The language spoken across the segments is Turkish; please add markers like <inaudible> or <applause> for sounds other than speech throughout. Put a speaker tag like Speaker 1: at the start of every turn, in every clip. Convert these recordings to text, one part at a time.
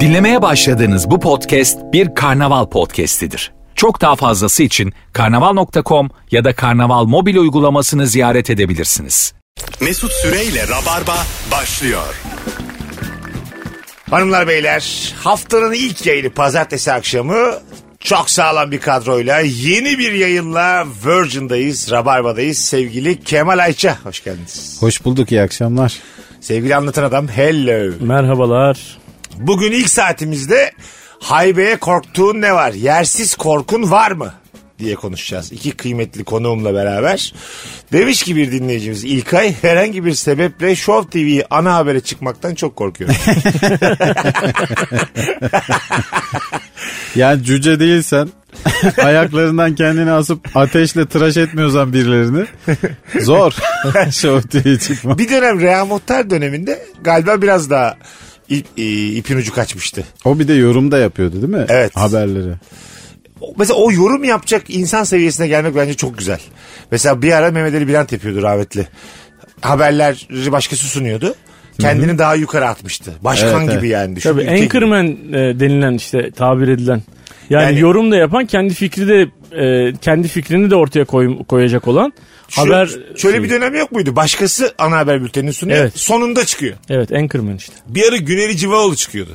Speaker 1: Dinlemeye başladığınız bu podcast bir karnaval podcastidir. Çok daha fazlası için karnaval.com ya da karnaval mobil uygulamasını ziyaret edebilirsiniz.
Speaker 2: Mesut Süreyle Rabarba başlıyor.
Speaker 3: Hanımlar beyler haftanın ilk yayını pazartesi akşamı çok sağlam bir kadroyla yeni bir yayınla Virgin'dayız, Rabarba'dayız. Sevgili Kemal Ayça hoş geldiniz.
Speaker 4: Hoş bulduk iyi akşamlar.
Speaker 3: Sevgili anlatan adam hello.
Speaker 5: Merhabalar.
Speaker 3: Bugün ilk saatimizde haybeye korktuğun ne var? Yersiz korkun var mı? diye konuşacağız. İki kıymetli konuğumla beraber. Demiş ki bir dinleyicimiz İlkay herhangi bir sebeple Show TV'yi ana habere çıkmaktan çok korkuyorum.
Speaker 4: Yani
Speaker 3: <laughs>
Speaker 4: cüce değilsen ayaklarından kendini asıp ateşle tıraş etmiyorsan birilerini
Speaker 3: <laughs>
Speaker 4: zor Show TV'ye çıkma.
Speaker 3: bir dönem Rea Muhtar döneminde galiba biraz daha ip, i- ipin ucu kaçmıştı.
Speaker 4: O bir de yorum da yapıyordu değil mi?
Speaker 3: Evet.
Speaker 4: Haberleri.
Speaker 3: Mesela o yorum yapacak insan seviyesine gelmek bence çok güzel. Mesela bir ara Mehmet Ali Bülent yapıyordu rahmetli. Haberleri başkası sunuyordu. Kendini daha yukarı atmıştı. Başkan
Speaker 4: Evet,
Speaker 3: gibi
Speaker 4: evet.
Speaker 3: yani düşün.
Speaker 5: Tabii
Speaker 3: ülke gibi.
Speaker 5: anchorman e, denilen işte tabir edilen. Yani,
Speaker 3: Yani-
Speaker 5: yorum da yapan kendi fikri de e, kendi fikrini de ortaya koy- koyacak olan
Speaker 3: Şu-
Speaker 5: haber
Speaker 3: Şöyle
Speaker 5: şeyi.
Speaker 3: bir dönem yok muydu? Başkası ana haber bültenini sunuyor.
Speaker 5: Evet.
Speaker 3: Sonunda çıkıyor.
Speaker 5: Evet anchorman işte.
Speaker 3: Bir ara Güneri Civaoğlu çıkıyordu.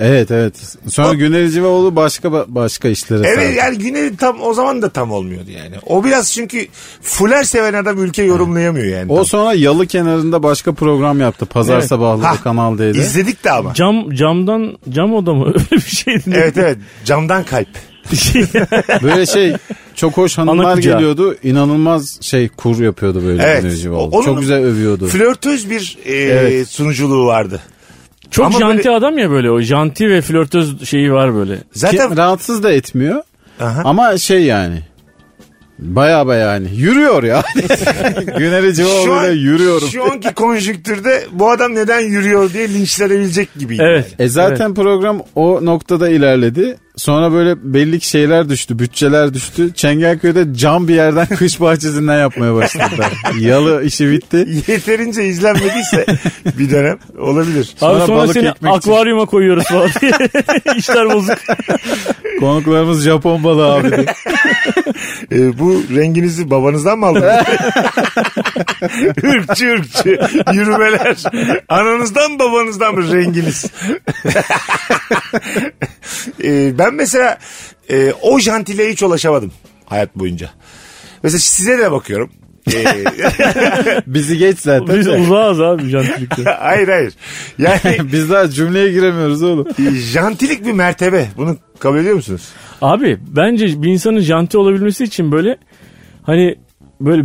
Speaker 4: Evet evet. Sonra Güner Civaoğlu başka ba- başka işlere
Speaker 3: Evet
Speaker 4: sardı.
Speaker 3: yani Güneri tam o zaman da tam olmuyordu yani. O biraz çünkü fuller seven adam ülke yorumlayamıyor yani.
Speaker 4: O sonra yalı kenarında başka program yaptı. Pazar
Speaker 5: Evet.
Speaker 4: sabahları Kanal
Speaker 3: <laughs>
Speaker 4: D'de.
Speaker 3: İzledik de ama.
Speaker 5: Cam camdan cam oda mı <laughs> öyle bir şeydi. ne?
Speaker 3: Evet evet camdan kalp.
Speaker 5: Bir şey.
Speaker 4: Böyle şey çok hoş
Speaker 5: Ana
Speaker 4: hanımlar
Speaker 5: kucağı.
Speaker 4: geliyoruz. İnanılmaz şey kur yapıyordu böyle
Speaker 3: Evet.
Speaker 4: Güner Civaoğlu.
Speaker 3: O- onun
Speaker 4: Çok güzel övüyordu.
Speaker 3: Flörtöz bir e,
Speaker 4: Evet.
Speaker 3: sunuculuğu vardı.
Speaker 5: Çok
Speaker 3: Ama
Speaker 5: janti
Speaker 3: böyle-
Speaker 5: adam ya böyle o janti ve flörtöz şeyi var böyle.
Speaker 3: Zaten
Speaker 4: Ki rahatsız da etmiyor.
Speaker 3: Aha.
Speaker 4: Ama şey yani. Baya baya yani. Yürüyor ya. <laughs> Güner
Speaker 3: şu, an,
Speaker 4: Civaoğlu'yla yürüyorum.
Speaker 3: şu anki konjüktürde bu adam neden yürüyor diye linçlenebilecek gibiydi.
Speaker 5: Evet.
Speaker 4: E zaten program o noktada ilerledi. Sonra böyle belli ki şeyler düştü, bütçeler düştü. Çengelköy'de cam bir yerden <laughs> kış bahçesinden yapmaya başladılar. Yalı işi bitti.
Speaker 3: Yani. Yeterince izlenmediyse bir dönem olabilir.
Speaker 5: Abi
Speaker 4: Sonra
Speaker 5: sonra,
Speaker 4: balık
Speaker 5: seni
Speaker 4: ekmek için.
Speaker 5: akvaryuma koyuyoruz falan diye. <laughs> İşler bozuk.
Speaker 4: Konuklarımız Japon balığı abi. de.
Speaker 3: E, bu renginizi babanızdan mı aldınız? ürkçü ürkçü yürümeler. Ananızdan babanızdan mı renginiz? <laughs> E, ben mesela e, o jantile hiç ulaşamadım hayat boyunca. Mesela size de bakıyorum. E,
Speaker 4: Bizi geç zaten.
Speaker 5: Biz
Speaker 4: de.
Speaker 5: uzağız abi jantilikte.
Speaker 3: <laughs> hayır hayır. Yani
Speaker 4: Biz daha cümleye giremiyoruz oğlum.
Speaker 3: E, jantilik bir mertebe. Bunu kabul ediyor musunuz?
Speaker 5: Abi bence bir insanın janti olabilmesi için böyle hani böyle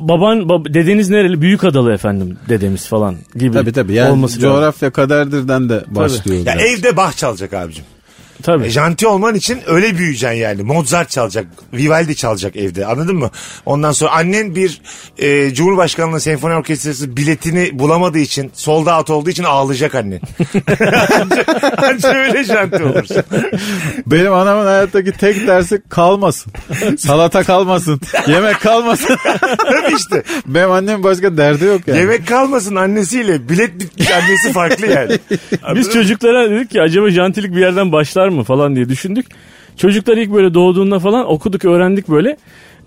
Speaker 5: baban bab- dedeniz nereli büyük adalı efendim dedemiz falan gibi
Speaker 4: Tabii tabii. Yani
Speaker 5: olması lazım.
Speaker 4: coğrafya kaderdirden de başlıyor.
Speaker 3: Ya
Speaker 4: biraz.
Speaker 3: evde bah çalacak abicim.
Speaker 5: Tabii.
Speaker 3: E, janti olman için öyle büyüyeceksin yani. Mozart çalacak, Vivaldi çalacak evde anladın mı? Ondan sonra annen bir e, Cumhurbaşkanlığı Senfoni Orkestrası biletini bulamadığı için, solda out olduğu için ağlayacak annen. anca, anca öyle janti olursun.
Speaker 4: Benim anamın hayattaki tek dersi kalmasın. Salata kalmasın. Yemek kalmasın. <laughs>
Speaker 3: Tabii işte.
Speaker 4: Benim annemin başka derdi yok yani.
Speaker 3: Yemek kalmasın annesiyle. Bilet bitmiş annesi farklı yani.
Speaker 5: Biz çocuklara dedik ki acaba jantilik bir yerden başlar mı falan diye düşündük. Çocuklar ilk böyle doğduğunda falan okuduk öğrendik böyle.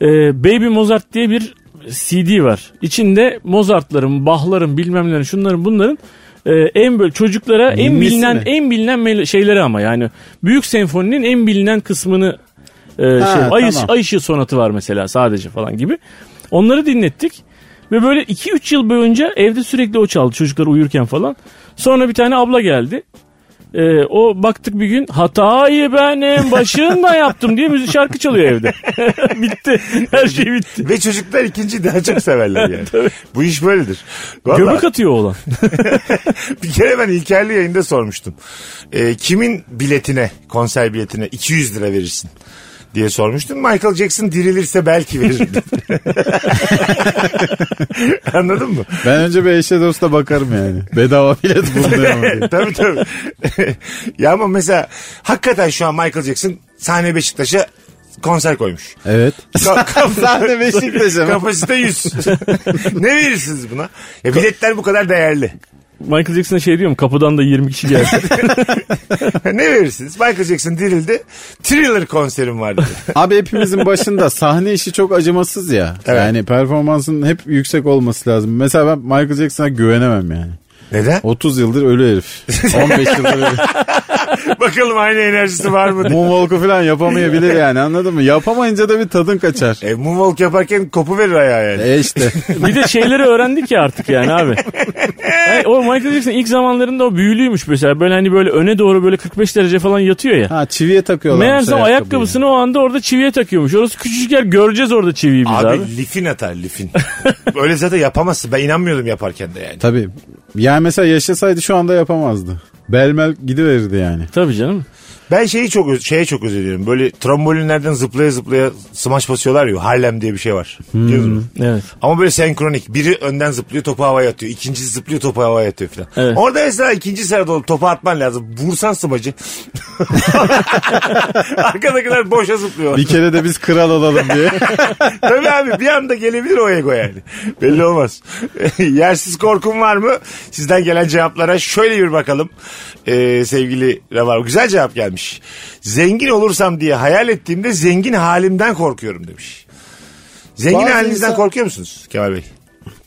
Speaker 5: Ee, Baby Mozart diye bir CD var. İçinde Mozart'ların, Bach'ların bilmem nelerin, şunların bunların e, en böyle çocuklara en
Speaker 4: Ninnisi
Speaker 5: bilinen
Speaker 4: mi?
Speaker 5: en bilinen mel- şeyleri ama yani büyük senfoninin en bilinen kısmını e, şey,
Speaker 4: tamam.
Speaker 5: ay, Işığı- ay ışığı sonatı var mesela sadece falan gibi. Onları dinlettik. Ve böyle 2-3 yıl boyunca evde sürekli o çaldı çocuklar uyurken falan. Sonra bir tane abla geldi. Ee, o baktık bir gün hatayı ben en başında yaptım diye müzik şarkı çalıyor evde. bitti. Her şey bitti.
Speaker 3: Ve çocuklar ikinciyi daha çok severler yani. Bu iş böyledir. Vallahi.
Speaker 5: Göbek atıyor oğlan.
Speaker 3: Bir kere ben İlker'li yayında sormuştum. Ee, kimin biletine, konser biletine 200 lira verirsin diye sormuştum. Michael Jackson dirilirse belki veririm. <laughs> dedi. Anladın mı?
Speaker 4: Ben önce bir eşe dosta bakarım yani. Bedava bilet bulunuyor
Speaker 3: <laughs>
Speaker 4: mu diye.
Speaker 3: tabii tabii. ya ama mesela hakikaten şu an Michael Jackson sahne Beşiktaş'a konser koymuş.
Speaker 4: Evet.
Speaker 3: Ka- kap-
Speaker 4: <laughs> Sahne Beşiktaş'a mı?
Speaker 3: Kapasite 100. ne verirsiniz buna? Ya biletler bu kadar değerli.
Speaker 5: Michael Jackson'a şey diyorum kapıdan da 20 kişi geldi.
Speaker 3: ne verirsiniz? Michael Jackson dirildi. Thriller konserim var dedi.
Speaker 4: Abi hepimizin başında sahne işi çok acımasız ya.
Speaker 3: Evet.
Speaker 4: Yani performansının hep yüksek olması lazım. Mesela ben Michael Jackson'a güvenemem yani.
Speaker 3: Neden?
Speaker 4: 30 yıldır
Speaker 3: <laughs>
Speaker 4: ölü herif. 15 yıldır ölü.
Speaker 3: Bakalım aynı enerjisi var <laughs> mı diye.
Speaker 4: Moonwalk'u falan yapamayabilir yani anladın mı? Yapamayınca da bir tadın kaçar.
Speaker 3: E, moonwalk yaparken kopu verir ayağı yani.
Speaker 4: E işte.
Speaker 5: bir de şeyleri öğrendik ya artık yani abi. Yani o Michael Jackson ilk zamanlarında o büyülüymüş mesela. Böyle hani böyle öne doğru böyle 45 derece falan yatıyor ya.
Speaker 4: Ha çiviye takıyorlar.
Speaker 5: Meğerse o ayakkabısını o anda orada çiviye takıyormuş. Orası küçücük yer göreceğiz orada çiviyi biz
Speaker 3: Abi,
Speaker 5: abi.
Speaker 3: lifin atar lifin. Öyle zaten yapamazsın. Ben inanmıyordum yaparken de yani.
Speaker 4: Tabii. Yani mesela yaşasaydı şu anda yapamazdı. Belmel gidiverirdi yani.
Speaker 5: Tabii canım.
Speaker 3: Ben şeyi çok öz- şeye çok özeniyorum. Böyle trombolinlerden zıplaya zıplaya smaç basıyorlar ya. Harlem diye bir şey var. Biliyor musun?
Speaker 5: Evet.
Speaker 3: Ama böyle senkronik. Biri önden zıplıyor topu havaya atıyor. İkincisi zıplıyor topu havaya atıyor falan.
Speaker 5: Evet.
Speaker 3: Orada mesela ikinci sırada olup topu atman lazım. Vursan smacı. <laughs> Arkadakiler boşa zıplıyor.
Speaker 4: Bir kere de biz kral olalım
Speaker 5: <laughs>
Speaker 4: diye.
Speaker 3: Tabii abi bir anda gelebilir o ego yani. Belli olmaz. <laughs> Yersiz korkum var mı? Sizden gelen cevaplara şöyle bir bakalım. Ee, sevgili Rabar güzel cevap gelmiş. Zengin olursam diye hayal ettiğimde zengin halimden korkuyorum demiş. Zengin
Speaker 4: Bazı
Speaker 3: halinizden
Speaker 4: insan-
Speaker 3: korkuyor musunuz Kemal Bey?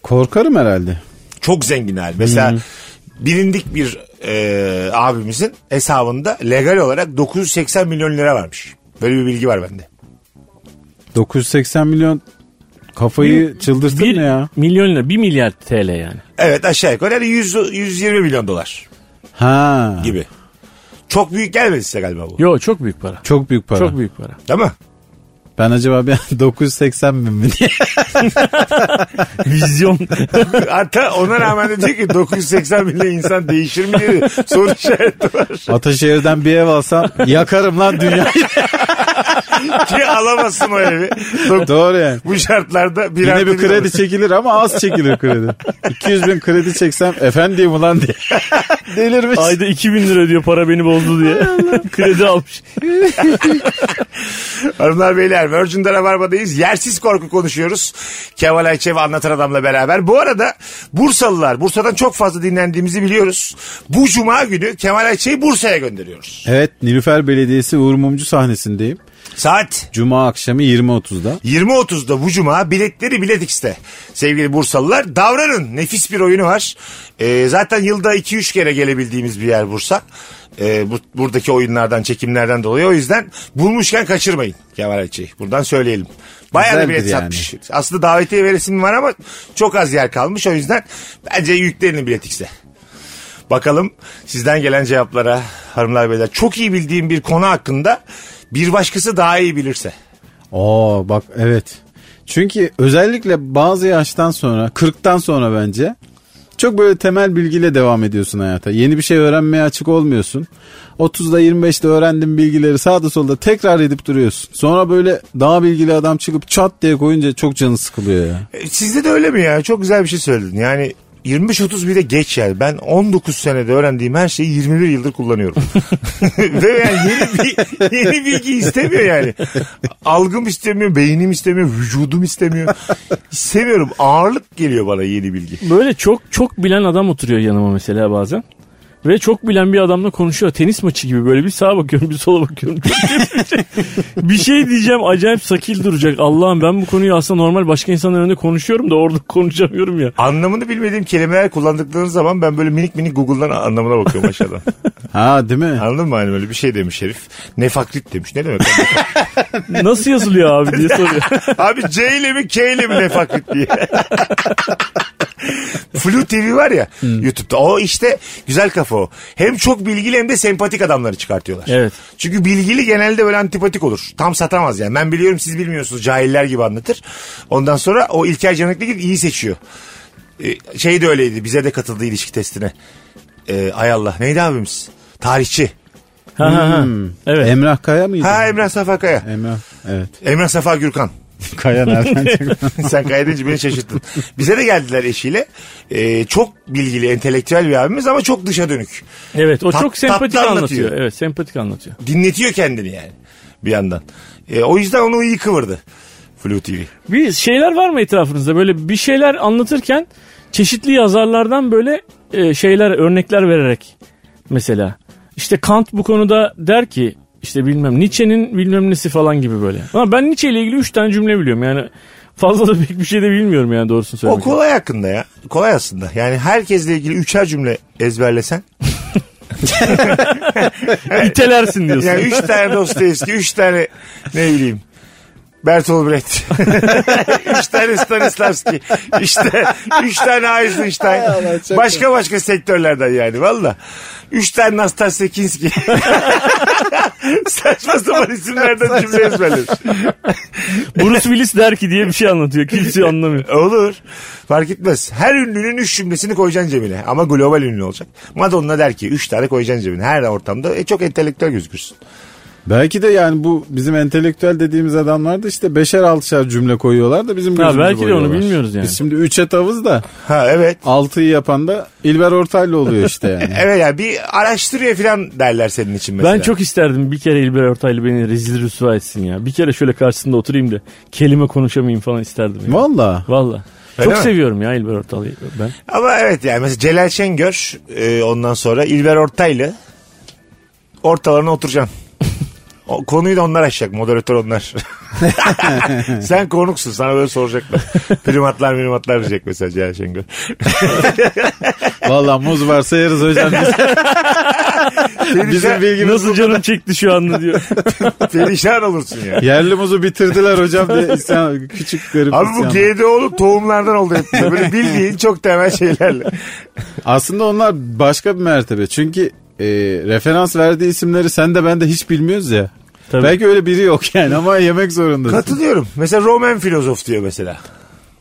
Speaker 4: Korkarım herhalde.
Speaker 3: Çok zengin hal. Mesela bilindik bir e, abimizin hesabında legal olarak 980 milyon lira varmış. Böyle bir bilgi var bende.
Speaker 4: 980 milyon kafayı çıldırtır mı
Speaker 5: Bir
Speaker 4: ya?
Speaker 5: milyon lira, bir milyar TL yani.
Speaker 3: Evet aşağı yukarı yani 100, 120 milyon dolar.
Speaker 4: Ha.
Speaker 3: gibi. Çok büyük gelmedi size galiba bu.
Speaker 5: Yo çok büyük para.
Speaker 4: Çok büyük para.
Speaker 5: Çok büyük para.
Speaker 3: Değil mi?
Speaker 4: Ben acaba <laughs> bir 980 bin mi
Speaker 5: <laughs>
Speaker 4: diye.
Speaker 5: Vizyon.
Speaker 3: <laughs> Hatta ona rağmen de diyor ki 980 milyon insan değişir mi diye soru işareti var.
Speaker 4: Ataşehir'den bir ev alsam yakarım lan
Speaker 5: <laughs>
Speaker 4: dünyayı.
Speaker 3: Ki alamazsın o evi. Dok-
Speaker 4: Doğru yani.
Speaker 3: bu şartlarda bir
Speaker 4: Yine
Speaker 3: artı
Speaker 4: bir
Speaker 3: olur.
Speaker 4: kredi çekilir ama az çekilir
Speaker 5: <laughs>
Speaker 4: kredi. 200 bin kredi çeksem efendiyim ulan diye. Delirmiş.
Speaker 5: Ayda 2000 lira ödüyor para beni bozdu diye. <laughs> Kredi almış.
Speaker 3: Hanımlar beyler Virgin'de Rabarba'dayız. Yersiz korku konuşuyoruz. Kemal Ayçe ve Anlatan Adam'la beraber. Bu arada Bursalılar, Bursa'dan çok fazla dinlendiğimizi biliyoruz. Bu cuma günü Kemal Ayçe'yi Bursa'ya gönderiyoruz.
Speaker 4: Evet Nilüfer Belediyesi Uğur Mumcu sahnesindeyim.
Speaker 3: Saat
Speaker 4: Cuma akşamı 20.30'da.
Speaker 3: 20.30'da bu cuma biletleri Bilet X'te. Sevgili Bursalılar davranın. Nefis bir oyunu var. Ee, zaten yılda 2-3 kere gelebildiğimiz bir yer Bursa. Ee, bu- buradaki oyunlardan, çekimlerden dolayı. O yüzden bulmuşken kaçırmayın Kemal Ayçi'yi. Buradan söyleyelim. Bayağı da
Speaker 4: Güzeldir
Speaker 3: bilet
Speaker 4: yani.
Speaker 3: satmış. Aslında davetiye veresim var ama çok az yer kalmış. O yüzden bence yüklerini Bilet X'te. Bakalım sizden gelen cevaplara hanımlar beyler. Çok iyi bildiğim bir konu hakkında bir başkası daha iyi bilirse.
Speaker 4: Oo bak evet. Çünkü özellikle bazı yaştan sonra 40'tan sonra bence çok böyle temel bilgiyle devam ediyorsun hayata. Yeni bir şey öğrenmeye açık olmuyorsun. 30'da 25'te öğrendiğin bilgileri sağda solda tekrar edip duruyorsun. Sonra böyle daha bilgili adam çıkıp çat diye koyunca çok canı sıkılıyor ya.
Speaker 3: E, Sizde de öyle mi ya? Çok güzel bir şey söyledin. Yani 25-30 bir de geç yani. Ben 19 senede öğrendiğim her şeyi 21 yıldır kullanıyorum. <laughs> Ve yani yeni, bir, yeni bilgi istemiyor yani. Algım istemiyor, beynim istemiyor, vücudum istemiyor. İstemiyorum. Ağırlık geliyor bana yeni bilgi.
Speaker 5: Böyle çok çok bilen adam oturuyor yanıma mesela bazen. Ve çok bilen bir adamla konuşuyor. Tenis maçı gibi böyle bir sağa bakıyorum bir sola bakıyorum. <laughs> Çok kötü bir şey. bir şey diyeceğim acayip sakil duracak. Allah'ım ben bu konuyu aslında normal başka insanların önünde konuşuyorum da orada konuşamıyorum ya.
Speaker 3: Anlamını bilmediğim kelimeler kullandıkları zaman ben böyle minik minik Google'dan anlamına bakıyorum aşağıdan.
Speaker 4: Ha değil mi?
Speaker 3: Anladın mı? Hani böyle bir şey demiş herif. Nefakrit demiş. Ne demek?
Speaker 5: Nasıl yazılıyor abi
Speaker 3: <laughs>
Speaker 5: diye soruyor.
Speaker 3: Abi C ile mi K ile mi nefakit diye. <laughs> Flu TV var ya YouTube'da. O işte güzel kafa o. Hem çok bilgili hem de sempatik adamları çıkartıyorlar.
Speaker 5: Evet.
Speaker 3: Çünkü bilgili genelde böyle antipatik olur. Tam satamaz yani. Ben biliyorum siz bilmiyorsunuz. Cahiller gibi anlatır. Ondan sonra o İlker Canikli gibi iyi seçiyor. Ee, Şey de öyleydi. Bize de katıldı ilişki testine. Ee, ay Allah. Neydi abimiz? Tarihçi.
Speaker 5: Ha, ha, ha.
Speaker 3: Hmm.
Speaker 5: Evet.
Speaker 4: Emrah Kaya mıydı?
Speaker 3: Ha Emrah Safa Kaya.
Speaker 4: Emrah. Evet.
Speaker 3: Emrah Safa Gürkan.
Speaker 4: Kaya nereden çıktı?
Speaker 3: <laughs> Sen kaydedince beni şaşırttın. Bize de geldiler eşiyle. Ee, çok bilgili, entelektüel bir abimiz ama çok dışa dönük.
Speaker 5: Evet o
Speaker 3: Tat-
Speaker 5: çok sempatik
Speaker 3: tatlı
Speaker 5: anlatıyor.
Speaker 3: anlatıyor.
Speaker 5: Evet sempatik anlatıyor.
Speaker 3: Dinletiyor kendini yani bir yandan. Ee, o yüzden onu iyi kıvırdı. Flu TV.
Speaker 5: Bir şeyler var mı etrafınızda böyle bir şeyler anlatırken çeşitli yazarlardan böyle e, şeyler örnekler vererek mesela. İşte Kant bu konuda der ki işte bilmem Nietzsche'nin bilmem nesi falan gibi böyle. Ama ben Nietzsche ile ilgili 3 tane cümle biliyorum yani fazla da pek bir şey de bilmiyorum yani
Speaker 3: O
Speaker 5: doğrusunu söylemek.
Speaker 3: kolay hakkında ya. Kolay aslında. Yani herkesle ilgili üçer cümle ezberlesen.
Speaker 5: İtelersin
Speaker 3: <laughs>
Speaker 5: diyorsun.
Speaker 3: Yani üç tane Dostoyevski, üç tane ne bileyim. Bertolt Brecht. <laughs> üç tane Stanislavski. İşte, üç tane Eisenstein. başka başka sektörlerden yani valla. Üç tane Nastasya Kinski. <laughs> Saçma sapan isimlerden cümle ezberlemiş.
Speaker 5: Bruce Willis der ki diye bir şey anlatıyor. Kimse anlamıyor.
Speaker 3: Olur. Fark etmez. Her ünlünün üç cümlesini koyacaksın cebine. Ama global ünlü olacak. Madonna der ki üç tane koyacaksın cebine. Her ortamda e, çok entelektüel gözükürsün.
Speaker 4: Belki de yani bu bizim entelektüel dediğimiz adamlar da işte beşer altışar cümle koyuyorlar da bizim gözümüzü
Speaker 5: belki de onu
Speaker 4: boyuyorlar.
Speaker 5: bilmiyoruz yani.
Speaker 4: Biz şimdi üçe tavız da
Speaker 3: Ha evet.
Speaker 4: altıyı yapan da İlber Ortaylı oluyor işte <laughs> yani.
Speaker 3: Evet ya bir araştırıyor falan derler senin için mesela.
Speaker 5: Ben çok isterdim bir kere İlber Ortaylı beni rezil rüsva etsin ya. Bir kere şöyle karşısında oturayım da kelime konuşamayayım falan isterdim. ya.
Speaker 4: Valla.
Speaker 5: Valla.
Speaker 3: Öyle
Speaker 5: Çok
Speaker 3: mi?
Speaker 5: seviyorum ya İlber Ortaylı'yı ben.
Speaker 3: Ama evet yani mesela Celal Şengör e, ondan sonra İlber Ortaylı ortalarına oturacaksın. O, konuyu da onlar açacak. Moderatör
Speaker 5: <laughs>
Speaker 3: onlar. Sen konuksun. Sana böyle soracaklar. Primatlar primatlar diyecek mesela Celal Şengör.
Speaker 4: Valla muz varsa yeriz hocam. Biz, <laughs> bizim bilgimiz
Speaker 5: Nasıl canım çekti şu anda
Speaker 4: <laughs>
Speaker 5: diyor.
Speaker 3: Perişan olursun ya.
Speaker 4: Yerli muzu bitirdiler hocam diye isyan- küçük garip
Speaker 3: Abi bu
Speaker 4: isyan.
Speaker 3: GDO'lu tohumlardan oldu hepsi. Böyle bildiğin çok temel şeylerle.
Speaker 4: Aslında onlar başka bir mertebe. Çünkü e, referans verdiği isimleri sen de ben de hiç bilmiyoruz ya.
Speaker 5: Tabii.
Speaker 4: Belki öyle biri yok yani ama yemek zorundasın.
Speaker 3: Katılıyorum. Mesela Roman filozof diyor mesela.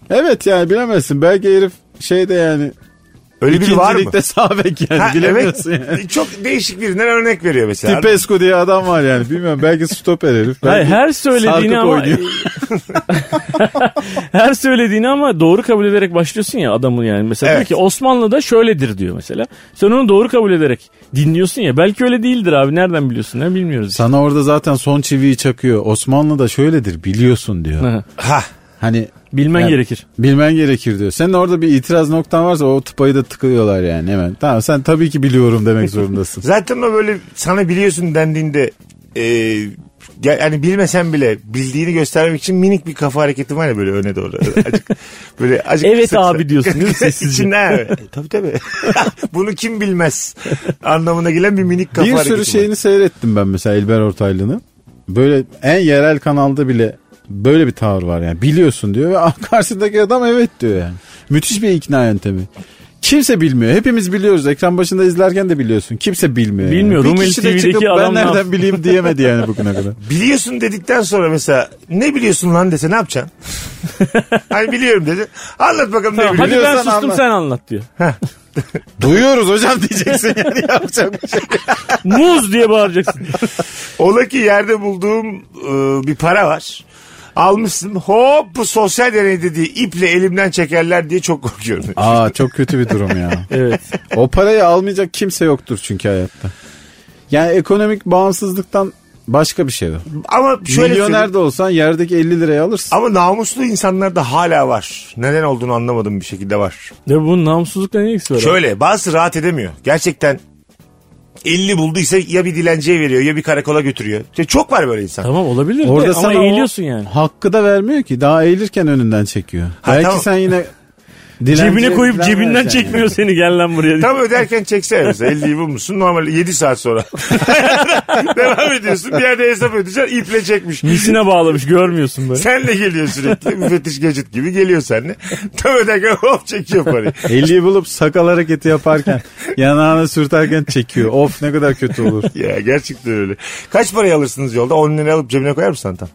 Speaker 4: Evet yani bilemezsin. Belki herif şeyde yani
Speaker 3: Öyle biri var mı?
Speaker 4: ikincilikte <laughs> sağ bek yani
Speaker 3: Ha,
Speaker 4: bilemiyorsun yani.
Speaker 3: Çok değişik birinden örnek veriyor mesela.
Speaker 4: Tipescu diye adam var yani. Bilmiyorum belki stoper herif. Belki
Speaker 5: Hayır, her söylediğini
Speaker 4: sarkıp
Speaker 5: ama
Speaker 4: oynuyor.
Speaker 5: <laughs> her söylediğini ama doğru kabul ederek başlıyorsun ya adamın yani. Mesela
Speaker 3: Evet.
Speaker 5: diyor ki Osmanlı'da şöyledir diyor mesela. Sen onu doğru kabul ederek dinliyorsun ya. Belki öyle değildir abi. Nereden biliyorsun? Ne bilmiyoruz. işte.
Speaker 4: Sana orada zaten son çiviyi çakıyor. Osmanlı'da şöyledir biliyorsun diyor.
Speaker 5: Hı.
Speaker 3: Ha.
Speaker 4: Hani
Speaker 5: Bilmen
Speaker 4: Yani-
Speaker 5: gerekir.
Speaker 4: bilmen gerekir diyor. Senin orada bir itiraz noktan varsa o tıpayı da tıkıyorlar yani hemen. Tamam sen tabii ki biliyorum demek zorundasın.
Speaker 3: Zaten o böyle sana biliyorsun dendiğinde e, ya- yani bilmesen bile bildiğini göstermek için minik bir kafa hareketi var ya böyle öne doğru. Acık, <laughs> böyle acık
Speaker 5: Evet
Speaker 3: kısa kısa.
Speaker 5: abi
Speaker 3: <laughs>
Speaker 5: diyorsun değil mi sessizce?
Speaker 3: İçinde abi. Tabii tabii. <laughs> Bunu kim bilmez anlamına gelen bir minik kafa
Speaker 4: bir
Speaker 3: hareketi
Speaker 4: sürü
Speaker 3: var.
Speaker 4: şeyini seyrettim ben mesela İlber Ortaylı'nın. Böyle en yerel kanalda bile böyle bir tavır var yani. Biliyorsun diyor ve <laughs> karşısındaki adam evet diyor yani. Müthiş bir ikna yöntemi. Kimse bilmiyor. Hepimiz biliyoruz. Ekran başında izlerken de biliyorsun. Kimse bilmiyor. yani.
Speaker 5: Bilmiyor.
Speaker 4: Bir
Speaker 5: Rumeli
Speaker 4: kişi de
Speaker 5: TV'deki
Speaker 4: çıkıp
Speaker 5: adam
Speaker 4: ben
Speaker 5: ne
Speaker 4: nereden
Speaker 5: yapsın?"
Speaker 4: bileyim diyemedi yani bugüne kadar.
Speaker 3: Biliyorsun dedikten sonra mesela ne biliyorsun lan dese ne
Speaker 5: <laughs>
Speaker 3: yapacaksın? hani biliyorum dedi. Anlat bakalım ne
Speaker 5: Tamam, hadi
Speaker 3: biliyorsun.
Speaker 5: ben
Speaker 4: biliyorsan
Speaker 5: sustum
Speaker 4: anlat.
Speaker 5: sen anlat diyor.
Speaker 4: <laughs> Duyuyoruz hocam diyeceksin
Speaker 3: <laughs>
Speaker 4: yani yapacak bir şey. yok.
Speaker 5: Muz
Speaker 4: <laughs>
Speaker 5: diye bağıracaksın.
Speaker 3: Ola ki yerde bulduğum e, bir para var. Almışsın hop bu sosyal deney dediği iple elimden çekerler diye çok korkuyorum.
Speaker 4: Aa çok kötü bir durum ya.
Speaker 5: Evet.
Speaker 4: O parayı almayacak kimse yoktur çünkü hayatta. Yani ekonomik bağımsızlıktan başka bir şey yok.
Speaker 3: Ama şöyle
Speaker 4: Milyoner
Speaker 3: söyleyeyim.
Speaker 4: de olsan yerdeki 50 liraya alırsın.
Speaker 3: Ama namuslu insanlar da hala var. Neden olduğunu anlamadım bir şekilde var.
Speaker 5: Ya bunun namussuzlukla ne ilgisi var? abi?
Speaker 3: Şöyle bazısı rahat edemiyor. Gerçekten 50 bulduysa ya bir dilenciye veriyor ya bir karakola götürüyor. İşte çok var böyle insan.
Speaker 5: Tamam olabilir
Speaker 4: Orada
Speaker 5: de,
Speaker 4: sana
Speaker 5: ama
Speaker 4: o
Speaker 5: eğiliyorsun yani.
Speaker 4: Hakkı da vermiyor ki. Daha eğilirken önünden çekiyor.
Speaker 3: Ha,
Speaker 4: Belki
Speaker 3: tamam.
Speaker 4: sen yine dilenciye
Speaker 5: Cebine koyup
Speaker 4: falan
Speaker 5: cebinden
Speaker 4: vereceksin
Speaker 5: çekmiyor seni gel lan buraya. diye.
Speaker 3: Tam öderken çekse mesela 50'yi bulmuşsun normal 7 saat sonra. Devam ediyorsun bir yerde hesap ödeyeceksin iple çekmiş.
Speaker 5: Misine bağlamış görmüyorsun böyle.
Speaker 3: Senle geliyor sürekli. <laughs> Müfettiş Gadget gibi geliyor <laughs> senle. Tam öderken hop çekiyor parayı. <laughs>
Speaker 4: yani. 50'yi bulup sakal hareketi yaparken yanağına sürterken çekiyor. Of ne kadar kötü olur.
Speaker 3: Ya gerçekten öyle. Kaç parayı alırsınız yolda? 10 lira alıp cebine koyar mısın tam?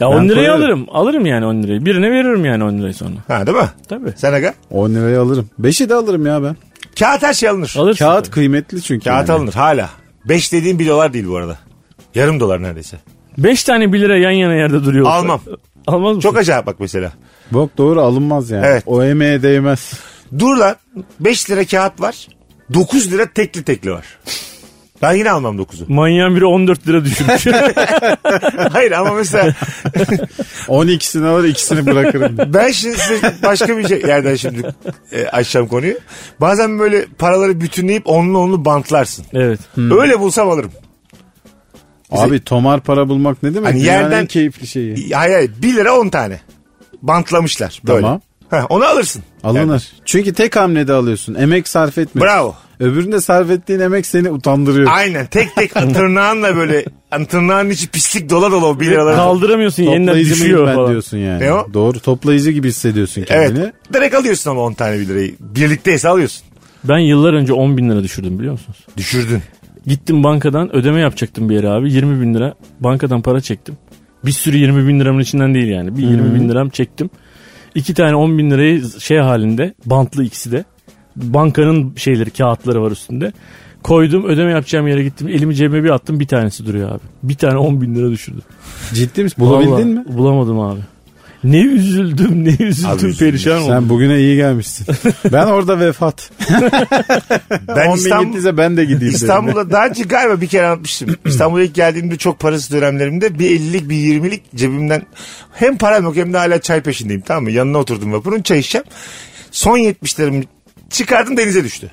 Speaker 5: Ya
Speaker 4: Ben
Speaker 5: 10 lirayı
Speaker 4: koyarım.
Speaker 5: alırım. Alırım yani 10 lirayı. Birine veririm yani 10 lirayı sonra.
Speaker 3: Ha değil mi?
Speaker 5: Tabii.
Speaker 3: Sen aga?
Speaker 4: 10 liraya alırım. 5'i de alırım ya ben.
Speaker 3: Kağıt her şey alınır.
Speaker 5: Alırsın.
Speaker 4: Kağıt
Speaker 5: Kağıt.
Speaker 4: kıymetli çünkü.
Speaker 3: Kağıt
Speaker 4: yani.
Speaker 3: alınır hala. 5 dediğim 1 dolar değil bu arada. Yarım dolar neredeyse.
Speaker 5: 5 tane 1 lira yan yana yerde duruyor.
Speaker 3: Almam.
Speaker 5: Almaz mısın?
Speaker 3: Çok acayip bak mesela.
Speaker 4: Bok doğru alınmaz yani.
Speaker 3: Evet.
Speaker 4: O emeğe değmez.
Speaker 3: Dur lan 5 lira kağıt var. 9 lira tekli tekli var. Ben yine almam 9'u.
Speaker 5: Manyağın biri 14 lira düşürmüş.
Speaker 3: <laughs> Hayır ama mesela
Speaker 4: 12'sini alır
Speaker 3: <laughs>
Speaker 4: ikisini bırakırım.
Speaker 3: ben şimdi size başka bir şey- yerden şimdi e, açacağım konuyu. Bazen böyle paraları bütünleyip onunla onu bantlarsın.
Speaker 5: evet.
Speaker 4: Hmm.
Speaker 3: Öyle bulsam alırım.
Speaker 4: Abi tomar para bulmak ne demek?
Speaker 3: Hani
Speaker 4: Dünyanın
Speaker 3: yerden-
Speaker 4: en keyifli şeyi.
Speaker 3: Hayır hayır 1 lira 10 tane. Bantlamışlar böyle.
Speaker 4: Tamam.
Speaker 3: Heh, onu alırsın.
Speaker 4: Alınır. Çünkü tek hamlede alıyorsun. Emek sarf etme.
Speaker 3: Bravo.
Speaker 4: Öbüründe sarf ettiğin emek seni utandırıyor.
Speaker 3: Aynen tek tek tırnağınla böyle hani tırnağın içi pislik dola dola o 1 liraları.
Speaker 5: Kaldıramıyorsun yeniden
Speaker 4: Toplayıcı mıyım
Speaker 5: düşüyor
Speaker 4: ben
Speaker 5: falan.
Speaker 4: diyorsun yani.
Speaker 3: Ne E o?
Speaker 4: Doğru toplayıcı gibi hissediyorsun
Speaker 3: Evet.
Speaker 4: kendini.
Speaker 3: Direkt alıyorsun ama 10 tane 1 lirayı. Birlikteyse alıyorsun.
Speaker 5: Ben yıllar önce 10 bin lira düşürdüm biliyor musunuz?
Speaker 3: Düşürdün.
Speaker 5: Gittim bankadan ödeme yapacaktım bir yere abi. 20 bin lira bankadan para çektim. Bir sürü 20 bin liramın içinden değil yani. Bir 20 bin liram çektim. İki tane 10 bin lirayı şey halinde bantlı ikisi de. Bankanın şeyleri kağıtları var üstünde. Koydum ödeme yapacağım yere gittim. Elimi cebime bir attım bir tanesi duruyor abi. Bir tane 10 bin lira düşürdüm.
Speaker 4: Ciddi misin? Bulabildin
Speaker 5: Vallahi
Speaker 4: mi?
Speaker 5: Bulamadım abi. Ne üzüldüm ne üzüldüm
Speaker 3: üzüldüm.
Speaker 5: perişan oldum.
Speaker 4: Sen bugüne
Speaker 3: <laughs>
Speaker 4: iyi gelmişsin. ben orada vefat.
Speaker 3: Ben
Speaker 4: 10 bin
Speaker 3: İstanbul,
Speaker 4: gittiyse ben de gideyim. İstanbul...
Speaker 3: İstanbul'da daha önce galiba bir kere anlatmıştım. İstanbul'a ilk geldiğimde çok parası dönemlerimde bir 50'lik bir 20'lik cebimden hem param yok hem de hala çay peşindeyim tamam mı? Yanına oturdum vapurun çay içeceğim. Son 70'lerim çıkardım denize düştü.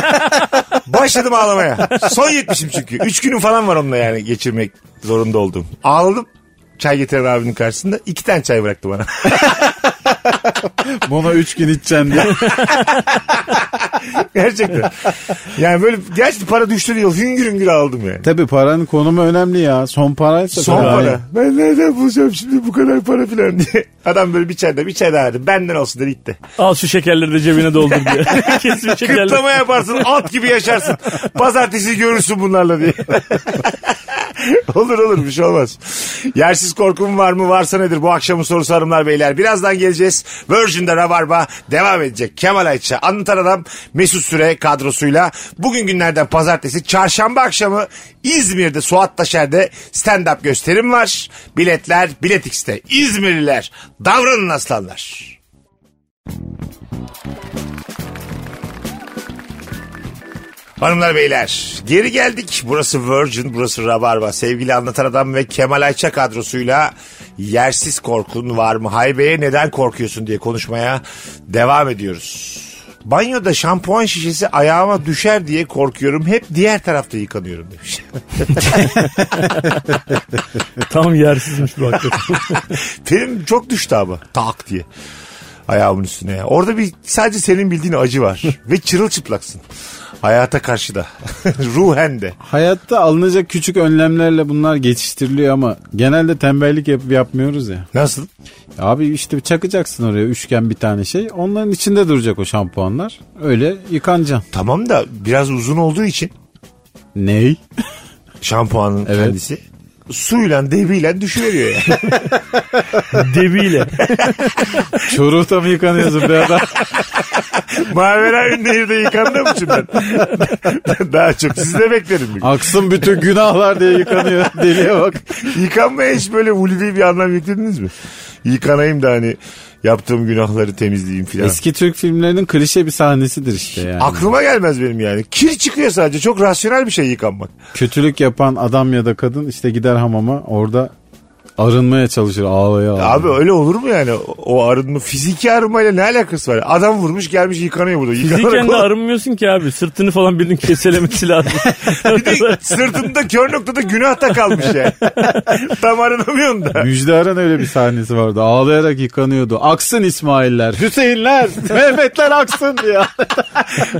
Speaker 3: <laughs> Başladım ağlamaya. Son 70'im çünkü. 3 günüm falan var onunla yani geçirmek zorunda olduğum. Ağladım. Çay getiren abinin karşısında iki tane çay bıraktı bana.
Speaker 4: <laughs>
Speaker 3: <laughs>
Speaker 4: Buna 3 gün içeceksin
Speaker 3: <laughs>
Speaker 4: diye.
Speaker 3: Gerçekten. Yani böyle gerçekten para düştü diye hüngür hüngür aldım yani.
Speaker 4: Tabii paranın konumu önemli ya. Son paraysa.
Speaker 3: Son
Speaker 4: tabii.
Speaker 3: para. Ben nereden bulacağım şimdi bu kadar para filan diye. Adam böyle bir çay daha bir çay daha verdi. Benden olsun dedi gitti.
Speaker 5: Al şu şekerleri de cebine doldur
Speaker 4: <laughs>
Speaker 5: diye. Kesin şekerler.
Speaker 3: Kıtlama yaparsın at gibi yaşarsın. Pazartesi görürsün bunlarla diye. <laughs> olur olur bir şey olmaz. Yersiz korkum var mı varsa nedir bu akşamın sorusu hanımlar beyler. Birazdan geleceğiz. Virgin'de Rabarba devam edecek. Kemal Ayça anlatan adam Mesut Süre kadrosuyla bugün günlerden pazartesi çarşamba akşamı İzmir'de Suat Taşer'de stand-up gösterim var. Biletler Bilet X'te. İzmirliler davranın aslanlar. Hanımlar beyler geri geldik. Burası Virgin, burası Rabarba. Sevgili Anlatan Adam ve Kemal Ayça kadrosuyla yersiz korkun var mı? Haybe'ye neden korkuyorsun diye konuşmaya devam ediyoruz. Banyoda şampuan şişesi ayağıma düşer diye korkuyorum. Hep diğer tarafta yıkanıyorum demiş. <laughs>
Speaker 5: Tam yersizmiş bu hakikaten.
Speaker 3: Benim çok düştü ama tak diye ayağımın üstüne. Orada bir sadece senin bildiğin acı var ve çırılçıplaksın. Hayata karşı da. <laughs> Ruhen de.
Speaker 4: Hayatta alınacak küçük önlemlerle bunlar geçiştiriliyor ama genelde tembellik yapıp yapmıyoruz ya.
Speaker 3: Nasıl?
Speaker 4: Abi işte çakacaksın oraya üçgen bir tane şey. Onların içinde duracak o şampuanlar. Öyle yıkanacaksın.
Speaker 3: Tamam da biraz uzun olduğu için
Speaker 4: Ney?
Speaker 3: şampuanın
Speaker 4: Evet.
Speaker 3: kendisi suyla debiyle düşüveriyor yani.
Speaker 5: Debiyle.
Speaker 4: Çoruhta mı yıkanıyorsun be
Speaker 3: <laughs>
Speaker 4: adam?
Speaker 3: Mavera Ünlü'de yıkandığım için ben. <laughs> Daha çok sizde beklerim. bir gün.
Speaker 4: Aksın bütün günahlar diye yıkanıyor. <laughs> Deliye bak.
Speaker 3: Yıkanmaya hiç böyle ulvi bir anlam yüklediniz mi? Yıkanayım da hani yaptığım günahları temizleyeyim filan.
Speaker 4: Eski Türk filmlerinin klişe bir sahnesidir işte yani.
Speaker 3: Aklıma gelmez benim yani. Kir çıkıyor sadece. Çok rasyonel bir şey yıkanmak.
Speaker 4: Kötülük yapan adam ya da kadın işte gider hamama orada arınmaya çalışır ağlaya ağlaya.
Speaker 3: Abi öyle olur mu yani? O- O arınma, fiziki arınmayla ne alakası var? Adam vurmuş gelmiş yıkanıyor burada.
Speaker 5: Fiziken de
Speaker 3: Yıkanarak-
Speaker 5: arınmıyorsun ki abi. Sırtını falan
Speaker 3: <laughs>
Speaker 5: birinin keselemesi lazım.
Speaker 3: Bir de sırtında kör noktada günah da kalmış yani. Tam arınamıyorsun da.
Speaker 4: Müjde Aran öyle bir sahnesi vardı. Ağlayarak yıkanıyordu. Aksın İsmail'ler, Hüseyinler, <laughs> Mehmetler aksın diye.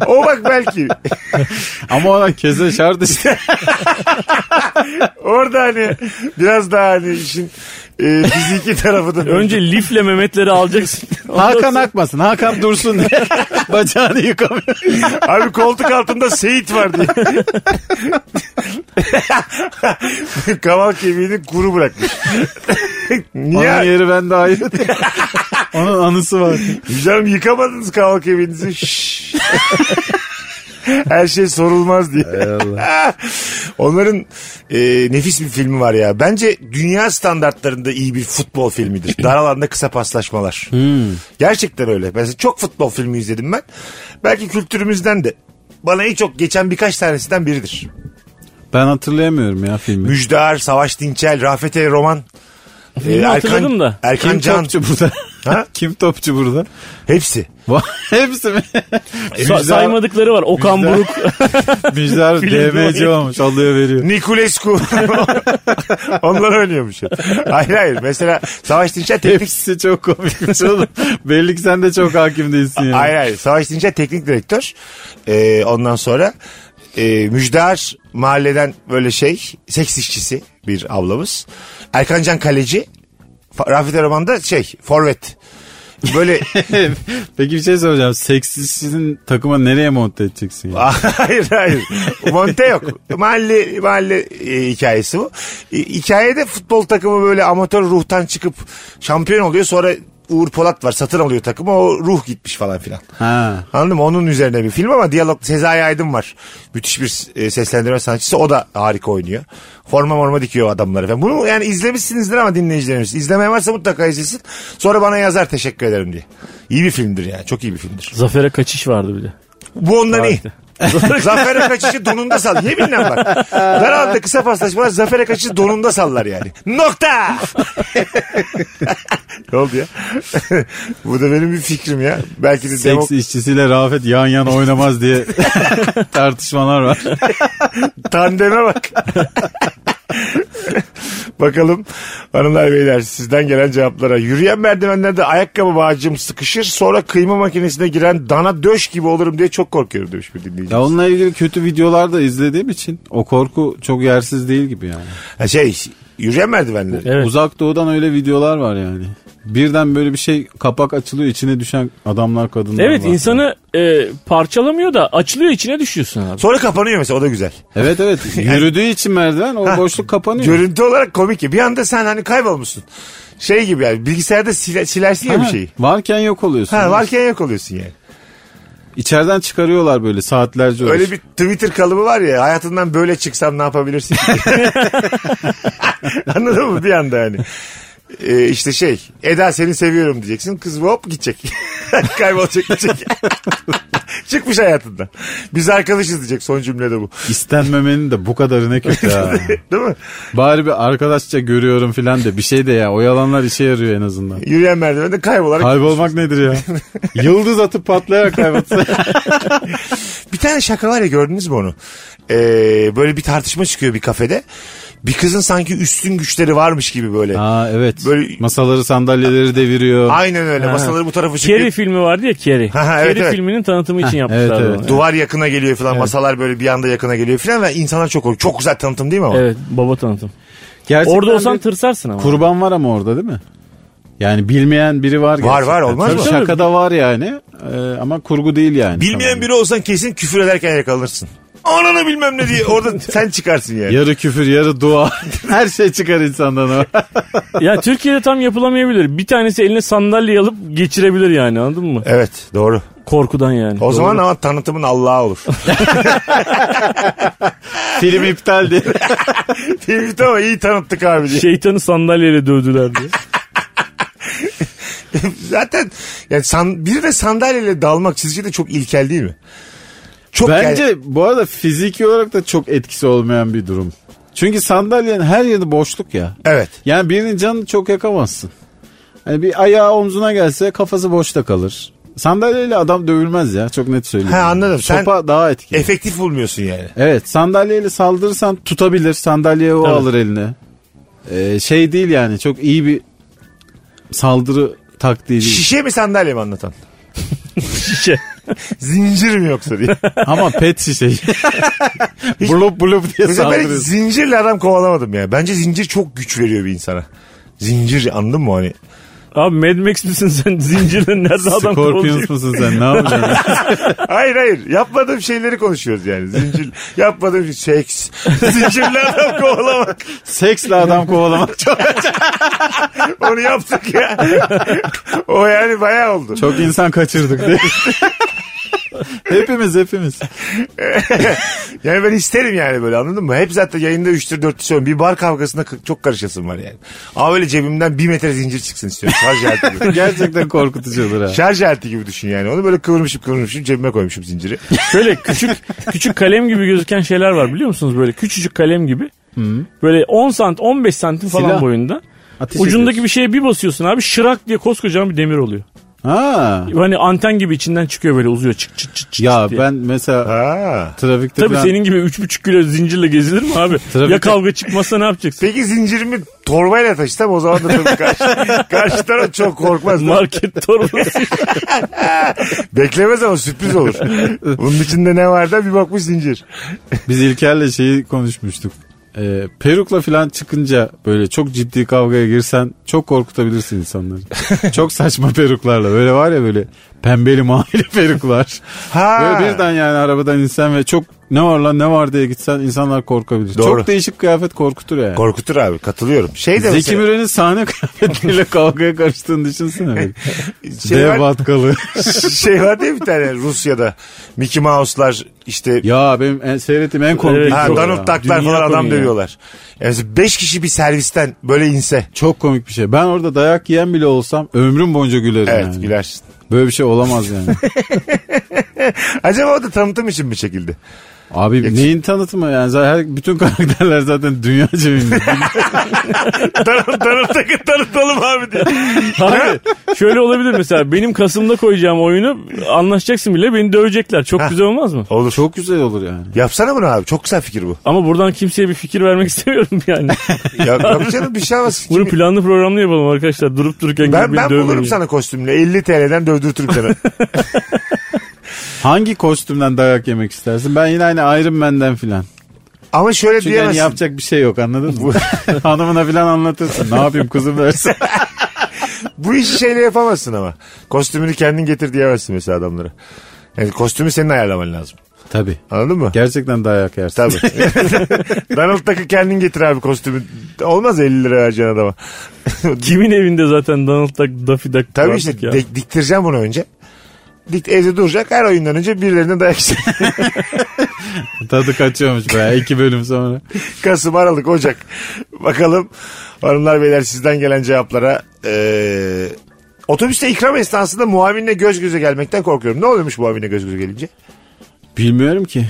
Speaker 3: O bak belki.
Speaker 4: Ama ona keze
Speaker 3: <laughs>
Speaker 4: şart işte.
Speaker 3: Orada hani biraz daha hani işin e, fiziki tarafı da.
Speaker 5: <laughs> Önce lifle
Speaker 3: <laughs>
Speaker 5: Mehmetleri alacaksın.
Speaker 4: Hakan akmasın, Hakan dursun diye. Bacağını yıkamıyor.
Speaker 3: Abi koltuk altında Seyit var diye. Kaval kemiğini kuru bırakmış.
Speaker 4: Onun
Speaker 3: Niye?
Speaker 4: yeri bende ayrı diye. Onun anısı var.
Speaker 3: Canım yıkamadınız kaval kemiğinizi. Şşş. Her şey sorulmaz diye. <laughs> Onların e, nefis bir filmi var ya. Bence dünya standartlarında iyi bir futbol filmidir. Dar alanda kısa paslaşmalar.
Speaker 5: Hmm.
Speaker 3: Gerçekten öyle. Mesela çok futbol filmi izledim ben. Belki kültürümüzden de bana en çok geçen birkaç tanesinden biridir.
Speaker 4: Ben hatırlayamıyorum ya filmi.
Speaker 3: Müjdar, Savaş Dinçel, Rafet El Roman.
Speaker 5: Filmi hatırladım da.
Speaker 3: Erkan
Speaker 4: Kim
Speaker 3: Can.
Speaker 4: topçu burada? <laughs>
Speaker 3: Ha?
Speaker 4: Kim topçu burada?
Speaker 3: Hepsi.
Speaker 4: Vay, <laughs> Hepsi mi?
Speaker 3: E,
Speaker 5: Sa- saymadıkları var. Okan
Speaker 4: Müjdar-
Speaker 3: <laughs>
Speaker 5: Buruk.
Speaker 4: Müjdar
Speaker 5: Film
Speaker 4: DMC olmuş. Alıyor veriyor.
Speaker 3: <laughs> Niculescu. Onlar oynuyormuş. Hayır hayır. Mesela Savaş Dinçel teknik
Speaker 4: Hepsi çok
Speaker 3: <laughs>
Speaker 4: komikmiş oğlum. Belli ki sen de çok hakim değilsin yani.
Speaker 3: Hayır hayır. Savaş Dinçer teknik direktör. Ee, ondan sonra e, Müjdar mahalleden böyle şey seks işçisi bir ablamız. Erkan Can kaleci. Fa- Rafet Erman da şey forvet. Böyle
Speaker 4: Peki bir şey soracağım. Seksistsin takıma nereye monte edeceksin? ya?
Speaker 3: <laughs> hayır hayır. Monte yok. Mahalle mahalle e, hikayesi bu. E, hikayede futbol takımı böyle amatör ruhtan çıkıp şampiyon oluyor. Sonra Uğur Polat var satın alıyor takımı. O ruh gitmiş falan filan.
Speaker 4: Ha.
Speaker 3: Anladın mı? Onun üzerine bir film ama diyalog Sezai Aydın var. Müthiş bir e, seslendirme sanatçısı. O da harika oynuyor. Forma morma dikiyor adamları falan. Bunu yani izlemişsinizdir ama dinleyicilerimiz. İzlemeyen varsa mutlaka izlesin. Sonra bana yazar teşekkür ederim diye. İyi bir filmdir yani. Çok iyi bir filmdir.
Speaker 5: Zafer'e kaçış vardı bir de.
Speaker 3: Bu ondan iyi. <laughs>
Speaker 5: Harika.
Speaker 3: Zafer'e kaçışı donunda sal. Yeminle bak. Daralda kısa paslaşmalar Zafer'e kaçışı donunda sallar yani. Nokta! <laughs> ne oldu ya? <laughs> Bu da benim bir fikrim ya. Belki de
Speaker 4: Seks
Speaker 3: demok-
Speaker 4: işçisiyle Rafet yan yana
Speaker 3: <laughs>
Speaker 4: oynamaz diye tartışmalar var.
Speaker 3: Tandeme bak. <laughs> Bakalım hanımlar beyler sizden gelen cevaplara. Yürüyen merdivenlerde ayakkabı bağcığım sıkışır sonra kıyma makinesine giren dana döş gibi olurum diye çok korkuyorum demiş bir dinleyici.
Speaker 4: Ya onunla ilgili kötü videolar da izlediğim için o korku çok yersiz değil gibi yani.
Speaker 3: Ha şey yürüyen merdivenler.
Speaker 5: Evet.
Speaker 4: Uzak doğudan öyle videolar var yani. Birden böyle bir şey kapak açılıyor içine düşen adamlar kadınlar
Speaker 5: Evet
Speaker 4: var.
Speaker 5: insanı e, parçalamıyor da açılıyor içine düşüyorsun abi.
Speaker 3: Sonra kapanıyor mesela o da güzel.
Speaker 4: Evet evet yürüdüğü için merdiven o boşluk kapanıyor.
Speaker 3: Görüntü olarak komik ya. Bir anda sen hani kaybolmuşsun. Şey gibi yani bilgisayarda sile- silersin ya bir
Speaker 4: Ha,
Speaker 3: şeyi.
Speaker 4: Varken yok oluyorsun.
Speaker 3: Ha varken yok oluyorsun yani.
Speaker 4: İçeriden çıkarıyorlar böyle saatlerce.
Speaker 3: Öyle
Speaker 4: Öyle
Speaker 3: bir Twitter kalıbı var ya hayatından böyle çıksam ne yapabilirsin? Anladın mı bir anda hani? Ee, işte şey Eda seni seviyorum diyeceksin kız hop gidecek <laughs> kaybolacak gidecek <laughs> çıkmış hayatından biz arkadaşız diyecek son cümlede bu <laughs>
Speaker 4: İstenmemenin de bu kadarı ne kötü ha.
Speaker 3: değil mi
Speaker 4: Bari bir arkadaşça görüyorum filan de bir şey de ya o yalanlar işe yarıyor en azından.
Speaker 3: <laughs> yürüyen merdivende kaybolarak
Speaker 4: Kaybolmak nedir ya? Yıldız atıp patlayarak kaybolsa.
Speaker 3: Bir tane şaka var ya gördünüz mü onu? Ee, böyle bir tartışma çıkıyor bir kafede. Bir kızın sanki üstün güçleri varmış gibi böyle.
Speaker 4: Aa evet.
Speaker 3: Böyle-
Speaker 4: Masaları sandalyeleri deviriyor.
Speaker 3: Aynen öyle. Masaları bu tarafa çıkıyor.
Speaker 5: Kerry filmi vardı ya Kerry.
Speaker 3: Ha, ha, evet,
Speaker 5: Kerry
Speaker 3: evet.
Speaker 5: filminin tanıtımı için
Speaker 4: evet,
Speaker 5: yapmışlardı
Speaker 4: evet.
Speaker 5: onu.
Speaker 3: Duvar yakına geliyor falan. Masalar böyle bir anda yakına geliyor falan ve insanlar çok korkuyor. Çok güzel tanıtım değil mi ama?
Speaker 5: Evet baba tanıtım.
Speaker 4: Gerçekten
Speaker 5: Orada olsan
Speaker 4: bir
Speaker 5: tırsarsın ama.
Speaker 4: kurban var ama orada değil mi? Yani bilmeyen biri var. gerçekten.
Speaker 3: var, olmaz
Speaker 4: Tabii
Speaker 3: mı?
Speaker 4: Şakada var yani Ee, ama kurgu değil yani.
Speaker 3: Bilmeyen
Speaker 4: Tamam.
Speaker 3: biri olsan kesin küfür ederken yakalanırsın. Ananı bilmem ne diye
Speaker 4: <laughs>
Speaker 3: orada sen çıkarsın yani.
Speaker 4: Yarı küfür yarı dua. <laughs> Her şey çıkar insandan o.
Speaker 3: <laughs>
Speaker 5: ya Türkiye'de tam yapılamayabilir. Bir tanesi eline sandalye alıp geçirebilir yani anladın mı?
Speaker 3: Evet doğru.
Speaker 5: Korkudan yani.
Speaker 3: O zaman ama tanıtımın Allah'a
Speaker 4: <laughs>
Speaker 3: olur.
Speaker 4: Film iptal diye.
Speaker 3: Filmi tamam iyi tanıttık abi
Speaker 4: Şey-
Speaker 3: diye.
Speaker 5: Şeytanı sandalyeyle dövdüler
Speaker 3: <laughs>
Speaker 5: diye.
Speaker 3: Zaten yani san, biri de sandalyeyle dalmak sizce de çok ilkel değil mi? Çok
Speaker 4: Bence bu arada fiziki olarak da çok etkisi olmayan bir durum. Çünkü sandalyenin her yeri boşluk ya.
Speaker 3: Evet.
Speaker 4: Yani birinin canını çok yakamazsın. Hani bir ayağı omzuna gelse kafası boşta kalır. Sandalyeyle adam dövülmez ya çok net söylüyorum.
Speaker 3: He, anladım. Sen-
Speaker 4: Sopa daha etkili.
Speaker 3: Efektif bulmuyorsun yani.
Speaker 4: evet sandalyeyle saldırırsan tutabilir sandalyeyi o
Speaker 5: Tabii.
Speaker 4: alır eline. Ee, şey değil yani çok iyi bir saldırı taktiği değil.
Speaker 3: Şişe mi sandalye mi anlatan?
Speaker 5: Şişe.
Speaker 3: <laughs> Zincir mi yoksa diye.
Speaker 4: Ama pet
Speaker 5: <laughs>
Speaker 4: şişeyi. blup blup
Speaker 3: <laughs>
Speaker 4: diye
Speaker 3: Mesela ben hiç
Speaker 4: saldırıyorsun.
Speaker 3: zincirle adam kovalamadım ya. Bence zincir çok güç veriyor bir insana. Zincir anladın mı <laughs> hani?
Speaker 5: Abi Mad Max misin sen? Zincirle nerede
Speaker 4: <laughs>
Speaker 5: adam
Speaker 4: Scorpions
Speaker 5: kovalıyor?
Speaker 4: musun sen ne yapacaksın?
Speaker 5: <laughs>
Speaker 3: Hayır hayır yapmadığım şeyleri konuşuyoruz yani. Zincir <laughs> yapmadığım şey seks. Zincirle adam <laughs> kovalamak.
Speaker 4: Seksle adam kovalamak çok,
Speaker 3: Onu yaptık ya. <laughs> o yani bayağı oldu.
Speaker 4: çok insan kaçırdık diye. <laughs> Hepimiz hepimiz.
Speaker 3: Yani ben isterim yani böyle anladın mı? Hep zaten yayında 3'tür 4'tür söylüyorum. Bir bar kavgasında k- çok karışasım var yani. Ama öyle cebimden bir metre zincir çıksın istiyorum. Şarj aleti gibi.
Speaker 4: Gerçekten korkutucu olur ha.
Speaker 3: Şarj aleti gibi düşün yani. Onu böyle kıvırmışım kıvırmışım cebime koymuşum
Speaker 4: <laughs>
Speaker 3: zinciri.
Speaker 5: Şöyle küçük küçük kalem gibi gözüken şeyler var biliyor musunuz böyle küçücük kalem gibi. Böyle 10 sant 15 santim falan
Speaker 4: Silah.
Speaker 5: boyunda.
Speaker 4: Ateş
Speaker 5: Ucundaki
Speaker 4: ediyorsun.
Speaker 5: bir şeye bir basıyorsun abi şırak diye koskocaman bir demir oluyor. <laughs>
Speaker 4: Ha.
Speaker 5: Hani anten gibi içinden çıkıyor böyle uzuyor çıt çıt çıt çıt
Speaker 4: Ya
Speaker 5: diye.
Speaker 4: ben mesela
Speaker 3: Ha.
Speaker 4: trafikte
Speaker 5: Tabii
Speaker 4: falan-
Speaker 5: senin gibi 3,5 kilo zincirle gezilir mi abi?
Speaker 4: Trafikte-
Speaker 5: Ya kavga çıkmazsa
Speaker 4: <laughs>
Speaker 5: ne yapacaksın?
Speaker 3: Peki zincirimi torbayla taşısam o zaman da tabii
Speaker 4: <laughs>
Speaker 3: karşı, karşı taraf çok korkmaz.
Speaker 5: Market torbası.
Speaker 3: Beklemez ama sürpriz
Speaker 4: <laughs>
Speaker 3: olur. Bunun içinde ne var da bir bakmış zincir.
Speaker 4: Biz İlker'le şeyi konuşmuştuk. Ee, perukla falan çıkınca böyle çok ciddi kavgaya girsen çok korkutabilirsin insanları.
Speaker 3: <laughs>
Speaker 4: çok saçma peruklarla. Böyle var ya böyle pembeli mavili peruklar.
Speaker 3: Ha.
Speaker 4: Böyle birden yani arabadan insan ve çok ne var lan ne var diye gitsen insanlar korkabilir.
Speaker 3: Doğru.
Speaker 4: Çok değişik kıyafet korkutur yani.
Speaker 3: Korkutur abi katılıyorum. Şey de
Speaker 4: Zeki
Speaker 3: mesela,
Speaker 4: Müren'in sahne <laughs> kıyafetiyle kavgaya karıştığını düşünsene. böyle.
Speaker 3: şey,
Speaker 4: Dev
Speaker 3: var,
Speaker 4: batkalı.
Speaker 3: <laughs> şey var değil mi bir tane Rusya'da Mickey Mouse'lar işte
Speaker 4: ya benim en, seyrettiğim en komik.
Speaker 5: Evet,
Speaker 4: video
Speaker 3: Ha,
Speaker 4: o
Speaker 3: Donald
Speaker 4: ya.
Speaker 3: Duck'lar
Speaker 5: Dünya
Speaker 3: falan adam
Speaker 5: konuyu ya.
Speaker 3: dövüyorlar. Yani beş kişi bir servisten böyle inse.
Speaker 4: Çok komik bir şey. Ben orada dayak yiyen bile olsam ömrüm boyunca gülerim
Speaker 3: Evet
Speaker 4: yani.
Speaker 3: gülersin.
Speaker 4: Böyle bir şey olamaz
Speaker 3: <laughs>
Speaker 4: yani.
Speaker 3: Acaba o da tanıtım için mi çekildi?
Speaker 4: Abi neyin tanıtımı yani? Zaten her- bütün <laughs> karakterler zaten dünya cebinde.
Speaker 3: Donald Donald Duck'ı tanıtalım abi diye.
Speaker 5: Abi, şöyle olabilir mesela benim Kasım'da koyacağım oyunu anlaşacaksın bile beni dövecekler. Çok güzel olmaz mı?
Speaker 3: <laughs> Olur.
Speaker 4: Çok güzel olur yani.
Speaker 3: Yapsana bunu abi. Çok güzel fikir bu.
Speaker 5: Ama buradan kimseye bir fikir vermek <laughs> istemiyorum yani.
Speaker 3: Ya, yap canım bir şey olmaz.
Speaker 5: Bunu planlı programlı yapalım arkadaşlar. Durup dururken gelip
Speaker 3: Ben,
Speaker 5: beni
Speaker 3: ben
Speaker 5: dövmeyin.
Speaker 3: bulurum sana kostümle. 50 TL'den dövdürtürüm sana.
Speaker 4: Hangi kostümden dayak yemek istersin? Ben yine aynı Iron Man'den filan.
Speaker 3: Ama şöyle
Speaker 4: Çünkü yani
Speaker 3: diyemezsin.
Speaker 4: yapacak bir şey yok anladın mı? <laughs> Hanımına filan anlatırsın. Ne yapayım
Speaker 3: <laughs>
Speaker 4: kızım dersin.
Speaker 3: Bu işi şeyle yapamazsın ama. Kostümünü kendin getir diyemezsin mesela adamlara. Yani kostümü senin ayarlaman lazım.
Speaker 4: Tabii.
Speaker 3: Anladın mı?
Speaker 4: Gerçekten dayak yersin.
Speaker 3: Tabii. <laughs> Donald Duck'ı kendin getir abi kostümü. Olmaz 50 lira vereceksin adama.
Speaker 5: Kimin evinde zaten Donald Duck, Daffy Duck
Speaker 3: Tabii
Speaker 5: var
Speaker 3: işte
Speaker 5: ya.
Speaker 3: dik- diktireceğim bunu önce. Dik, evde duracak her oyundan önce birilerine dayak yiyecek.
Speaker 4: <laughs> Tadı kaçıyormuş be. İki bölüm sonra.
Speaker 3: Kasım, Aralık, Ocak. Bakalım hanımlar beyler sizden gelen cevaplara. Ee, otobüste ikram esnasında muavinle göz göze gelmekten korkuyorum. Ne oluyormuş muavinle göz göze gelince?
Speaker 4: Bilmiyorum ki.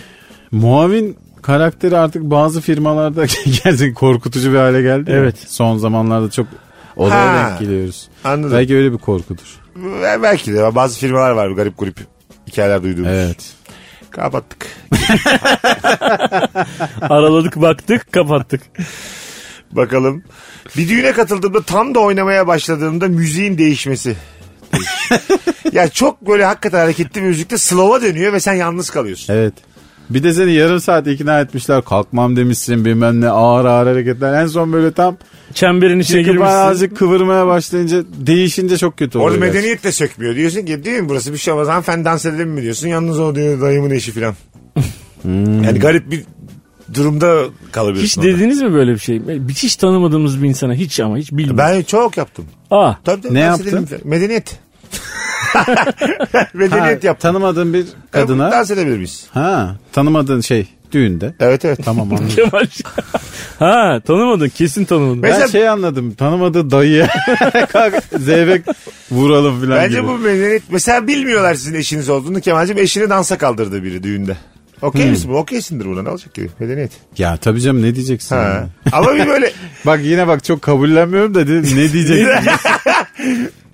Speaker 4: Muavin karakteri artık bazı firmalarda <laughs> gerçekten korkutucu bir hale geldi. ya.
Speaker 5: Evet.
Speaker 4: Son zamanlarda çok olaya
Speaker 3: Ha.
Speaker 4: denk geliyoruz.
Speaker 3: Anladım.
Speaker 4: Belki öyle bir korkudur.
Speaker 3: Ee, Belki de bazı firmalar var garip garip hikayeler duyduğumuz.
Speaker 4: Evet.
Speaker 3: Kapattık.
Speaker 5: Araladık baktık kapattık.
Speaker 3: Bakalım. Bir düğüne katıldığımda tam da oynamaya başladığımda müziğin değişmesi. ya çok böyle hakikaten hareketli bir müzikte slow'a dönüyor ve sen yalnız kalıyorsun.
Speaker 4: Evet. Bir de seni yarım saat ikna etmişler. Kalkmam demişsin bilmem ne ağır ağır hareketler. En son böyle tam
Speaker 5: Çemberin içine
Speaker 4: çıkıp
Speaker 5: girmişsin.
Speaker 4: azıcık kıvırmaya başlayınca değişince çok kötü oluyor.
Speaker 3: Orada
Speaker 4: gerçekten.
Speaker 3: medeniyet de sökmüyor. Diyorsun ki değil mi burası bir şey olmaz. Hanımefendi dans edelim mi diyorsun. Yalnız o diyor dayımın eşi
Speaker 4: <laughs>
Speaker 3: falan.
Speaker 4: Hmm.
Speaker 3: Yani garip bir durumda
Speaker 5: Hiç
Speaker 3: kalabiliyorsun. orada.
Speaker 5: dediniz mi böyle bir şey? Hiç, hiç tanımadığımız bir insana hiç ama hiç bilmiyorum. Ah,
Speaker 3: Ben çok yaptım.
Speaker 5: Aa,
Speaker 3: Tabii, tabii
Speaker 4: Ne
Speaker 3: dans
Speaker 4: yaptın?
Speaker 3: edelim falan.
Speaker 4: <laughs>
Speaker 3: Medeniyet. <laughs>
Speaker 4: Ha,
Speaker 3: medeniyet yaptım.
Speaker 4: Tanımadığın bir
Speaker 3: E,
Speaker 4: kadına.
Speaker 3: Dans edebilir miyiz?
Speaker 4: Ha, tanımadığın şey düğünde.
Speaker 3: Evet evet.
Speaker 4: Tamam anladım.
Speaker 5: <laughs> Kemal. ha tanımadın kesin tanımadın.
Speaker 4: Ben
Speaker 3: Mesela-
Speaker 4: şey anladım. Tanımadığı dayıya <laughs> kalk zeybek vuralım filan
Speaker 3: Bence
Speaker 4: gibi.
Speaker 3: bu medeniyet mesela bilmiyorlar sizin eşiniz olduğunu. Kemal'cim eşini dansa kaldırdı biri düğünde.
Speaker 4: Hmm.
Speaker 3: Okey misin? bu? Okeysindir buna ne olacak ki? Medeniyet.
Speaker 4: Ya tabii canım ne diyeceksin?
Speaker 3: Ha.
Speaker 4: yani?
Speaker 3: Ama bir
Speaker 4: <laughs>
Speaker 3: böyle
Speaker 4: Bak yine bak çok kabullenmiyorum da de- ne
Speaker 3: <laughs>
Speaker 4: diyeceksin?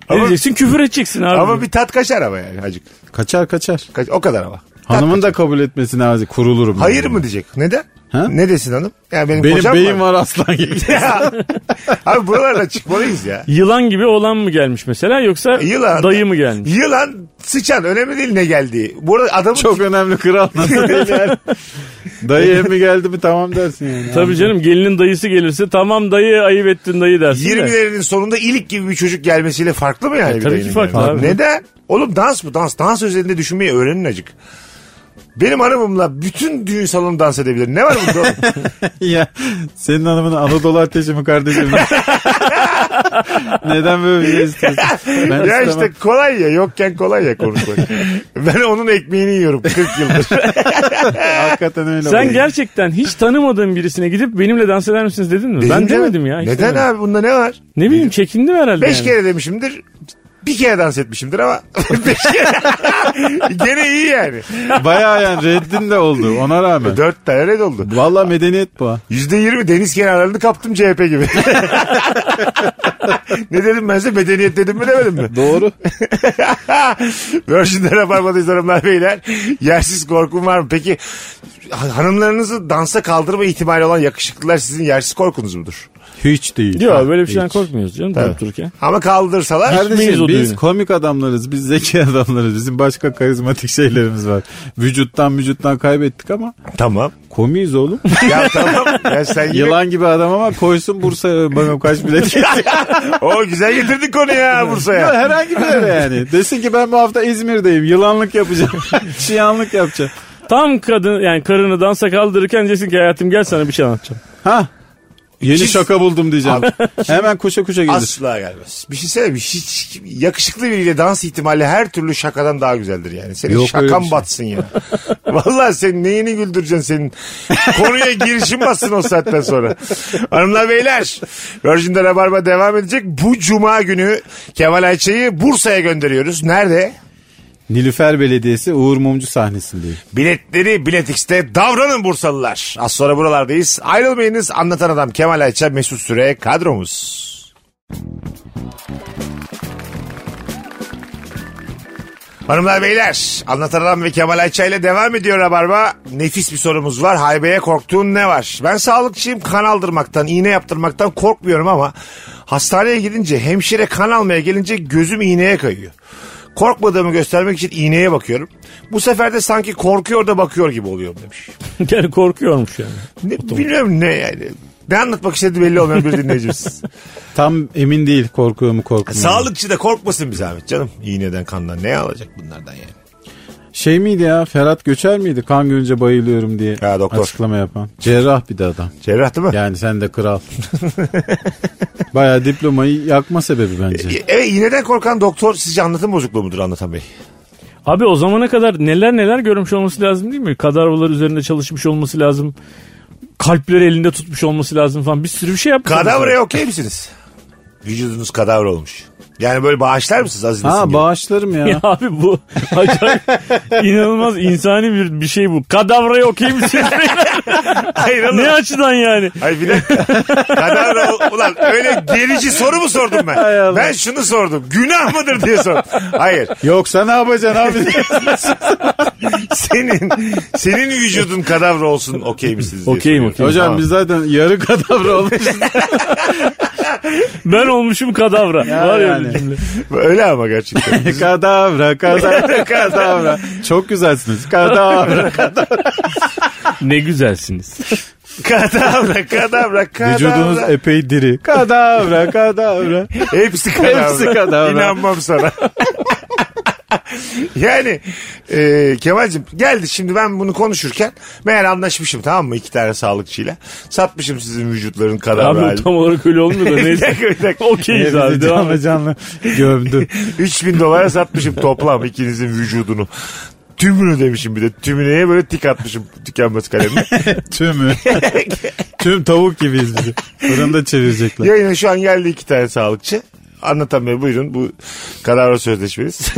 Speaker 5: Ne diyeceksin küfür edeceksin abi.
Speaker 3: ama bir tat kaçar ama yani acık.
Speaker 4: kaçar kaçar.
Speaker 3: Kaç- o kadar ama.
Speaker 4: <laughs> Hanımın da kabul etmesine lazım. Kurulurum. ben
Speaker 3: Hayır
Speaker 4: yani.
Speaker 3: mı diyecek? Neden?
Speaker 4: Ha?
Speaker 3: Ne desin hanım? Ya benim,
Speaker 4: Benim
Speaker 3: kocam
Speaker 4: beyim
Speaker 3: var. <laughs>
Speaker 4: var aslan gibi.
Speaker 3: Abi buralardan çıkmalıyız ya.
Speaker 5: Yılan gibi olan mı gelmiş mesela yoksa
Speaker 3: Yılan.
Speaker 5: dayı mı gelmiş?
Speaker 3: Yılan sıçan önemli değil ne geldiği. Burada adamın
Speaker 4: çok önemli kral. Nasıl değil yani? <laughs> Dayı emmi geldi mi tamam dersin yani. <laughs>
Speaker 5: Tabii canım gelinin dayısı gelirse tamam dayı ayıp ettin dayı dersin de.
Speaker 3: 20'lerinin sonunda ilik gibi bir çocuk gelmesiyle farklı mı yani?
Speaker 5: E,
Speaker 3: bir
Speaker 5: tabii
Speaker 3: dayının
Speaker 5: ki farklı
Speaker 3: yani?
Speaker 5: abi.
Speaker 3: Neden? Oğlum dans mı? Dans. Dans üzerinde düşünmeyi öğrenin acık. Benim hanımımla bütün düğün salonu dans edebilir. Ne var bunda oğlum? <laughs>
Speaker 4: Ya, senin hanımın Anadolu ateşi mi kardeşim? Neden böyle bir şey istiyorsun? <laughs> Ben
Speaker 3: ya
Speaker 4: istemem.
Speaker 3: işte kolay ya yokken kolay ya
Speaker 4: <laughs>
Speaker 3: konuşmak. ben onun ekmeğini yiyorum 40 yıldır.
Speaker 4: Hakikaten öyle
Speaker 5: Sen
Speaker 4: oluyor.
Speaker 5: gerçekten hiç tanımadığın birisine gidip benimle dans eder misiniz dedin mi? ben
Speaker 3: Dedim de-
Speaker 5: demedim ya. hiç
Speaker 3: Neden
Speaker 5: demedim.
Speaker 3: abi bunda ne var?
Speaker 5: Ne bileyim çekindim herhalde.
Speaker 3: Beş
Speaker 5: yani.
Speaker 3: kere demişimdir. Bir kere dans etmişimdir ama <laughs> beş kere. Gene iyi yani.
Speaker 4: Bayağı yani reddin de oldu ona rağmen.
Speaker 3: Dört tane red oldu.
Speaker 4: Valla medeniyet bu. ha.
Speaker 3: Yüzde yirmi deniz kenarlarını kaptım CHP gibi. <laughs> ne dedim ben size medeniyet dedim mi demedim mi? <laughs>
Speaker 4: Doğru.
Speaker 3: Virgin'de Rabarba'dayız hanımlar beyler. Yersiz korkum var mı? Peki ha- hanımlarınızı dansa kaldırma ihtimali olan yakışıklılar sizin yersiz korkunuz mudur?
Speaker 4: Hiç değil.
Speaker 5: Yok böyle bir şeyden
Speaker 4: Hiç.
Speaker 5: korkmuyoruz canım durup dururken.
Speaker 3: Ama kaldırsalar
Speaker 5: Hiçbiriniz
Speaker 4: Kardeşim
Speaker 5: o
Speaker 4: biz
Speaker 5: düğünü.
Speaker 4: komik adamlarız, biz zeki <laughs> adamlarız, bizim başka karizmatik şeylerimiz var. Vücuttan vücuttan kaybettik ama
Speaker 3: tamam.
Speaker 4: komiyiz <laughs> oğlum.
Speaker 3: Ya tamam. Ya sen yine-
Speaker 4: Yılan gibi adam ama koysun Bursa'ya bakalım kaç <laughs> bilet geçecek.
Speaker 3: O güzel getirdin konuyu ha
Speaker 4: Ya
Speaker 3: Bursa'ya.
Speaker 4: Herhangi bir yere yani. Desin ki ben bu hafta İzmir'deyim. Yılanlık yapacağım. <laughs> Çiyanlık yapacağım.
Speaker 5: Tam kadın yani karını dansa kaldırırken desin ki hayatım gel sana bir şey anlatacağım. <laughs>
Speaker 4: Ha. Yeni
Speaker 3: Çiz-
Speaker 4: şaka buldum diyeceğim. Hemen kuşa kuşa gelir.
Speaker 3: Asla gelmez. Bir şey söyleyeyim mi? Hiç yakışıklı biriyle dans ihtimali her türlü şakadan daha güzeldir yani. Senin
Speaker 4: Yok öyle
Speaker 3: şakan
Speaker 4: bir şey.
Speaker 3: batsın ya. <laughs> Vallahi senin neyini güldüreceksin senin. Konuya girişin batsın o saatten sonra. Hanımlar beyler Virgin'de Rabarba devam edecek. Bu cuma günü Kemal Ayça'yı Bursa'ya gönderiyoruz. Nerede?
Speaker 4: Nilüfer Belediyesi Uğur Mumcu sahnesindeyim.
Speaker 3: Biletleri Bilet X'te davranın Bursalılar. Az sonra buralardayız. Ayrılmayınız. Anlatan Adam Kemal Ayça Mesut Süre kadromuz. Hanımlar beyler Anlatan Adam ve Kemal Ayça ile devam ediyor Rabarba. Nefis bir sorumuz var. Haybeye korktuğun ne var? Ben sağlıkçıyım kan aldırmaktan, iğne yaptırmaktan korkmuyorum ama hastaneye gidince hemşire kan almaya gelince gözüm iğneye kayıyor. Korkmadığımı göstermek için iğneye bakıyorum. Bu sefer de sanki korkuyor da bakıyor gibi oluyorum demiş.
Speaker 5: yani korkuyormuş yani.
Speaker 3: Ne, bilmiyorum ne yani. Ne anlatmak istediği belli olmayan bir dinleyicimiz.
Speaker 4: Tam emin değil korkuyor mu korkmuyor
Speaker 3: <laughs>
Speaker 4: mu?
Speaker 3: Sağlıkçı da korkmasın bir zahmet canım. İğneden kandan ne alacak bunlardan yani.
Speaker 4: Şey miydi ya Ferhat Göçer miydi? Kan görünce bayılıyorum diye
Speaker 3: Ha, doktor.
Speaker 4: açıklama yapan. Cerrah bir de adam.
Speaker 3: Cerrah değil mi?
Speaker 4: Yani sen de kral. Baya diplomayı yakma sebebi bence.
Speaker 3: Evet iğneden korkan doktor sizce anlatım bozukluğu mudur anlatan bey?
Speaker 5: Abi o zamana kadar neler neler görmüş olması lazım değil mi? Kadavralar üzerinde çalışmış olması lazım. Kalpleri elinde tutmuş olması lazım falan. Bir sürü bir şey yapmış.
Speaker 3: Kadavraya okey misiniz? Vücudunuz kadavra olmuş. Yani böyle bağışlar mısınız Aziz Nesin
Speaker 4: Ha
Speaker 3: gibi?
Speaker 4: bağışlarım ya.
Speaker 5: <laughs> Ya abi bu acayip inanılmaz insani bir, bir şey bu. Kadavrayı okuyayım mısınız?
Speaker 3: <laughs> Hayır oğlum.
Speaker 5: ne açıdan yani?
Speaker 3: Ay bir dakika. Kadavra ol- ulan öyle gerici soru mu sordum ben? ben şunu sordum. Günah mıdır diye sordum. Hayır.
Speaker 4: Yoksa ne yapacaksın abi?
Speaker 3: Senin senin vücudun kadavra olsun okey misiniz diye
Speaker 5: Okeyim,
Speaker 3: soruyorum.
Speaker 5: okey.
Speaker 4: Hocam
Speaker 3: Tamam.
Speaker 4: biz zaten yarı kadavra olmuşuz. <laughs>
Speaker 5: Ben olmuşum kadavra.
Speaker 4: Ya
Speaker 5: Var ya
Speaker 4: yani.
Speaker 5: öyle cümle.
Speaker 3: Öyle ama gerçekten.
Speaker 4: kadavra, kadavra, kadavra. Çok güzelsiniz. Kadavra.
Speaker 5: Ne güzelsiniz.
Speaker 3: kadavra kadavra kadavra.
Speaker 4: Vücudunuz epey diri. Kadavra, kadavra.
Speaker 3: Hepsi kadavra.
Speaker 4: Hepsi kadavra.
Speaker 3: İnanmam sana. <laughs> yani e, Kemal'cim geldi şimdi ben bunu konuşurken meğer anlaşmışım tamam mı iki tane sağlıkçıyla. Satmışım sizin vücutların kadavra
Speaker 5: Abi bu
Speaker 3: halini.
Speaker 5: tam olarak öyle olmuyor
Speaker 3: <laughs>
Speaker 5: da
Speaker 3: bir
Speaker 5: neyse.
Speaker 3: dakika bir dakika.
Speaker 5: Okeyiz abi
Speaker 4: Bizi
Speaker 5: devam
Speaker 4: canlı
Speaker 5: et.
Speaker 4: canlı gömdü.
Speaker 3: 3000 dolara satmışım toplam ikinizin vücudunu. Tümünü demişim bir de. Tümüneye böyle tik atmışım tükenmez
Speaker 5: <laughs>
Speaker 3: kalemle. <laughs>
Speaker 4: Tümü. Tüm tavuk gibiyiz bizi. Fırında çevirecekler.
Speaker 3: Yayına şu an geldi iki tane sağlıkçı. Anlatan Bey buyurun bu kadavra sözleşmeniz.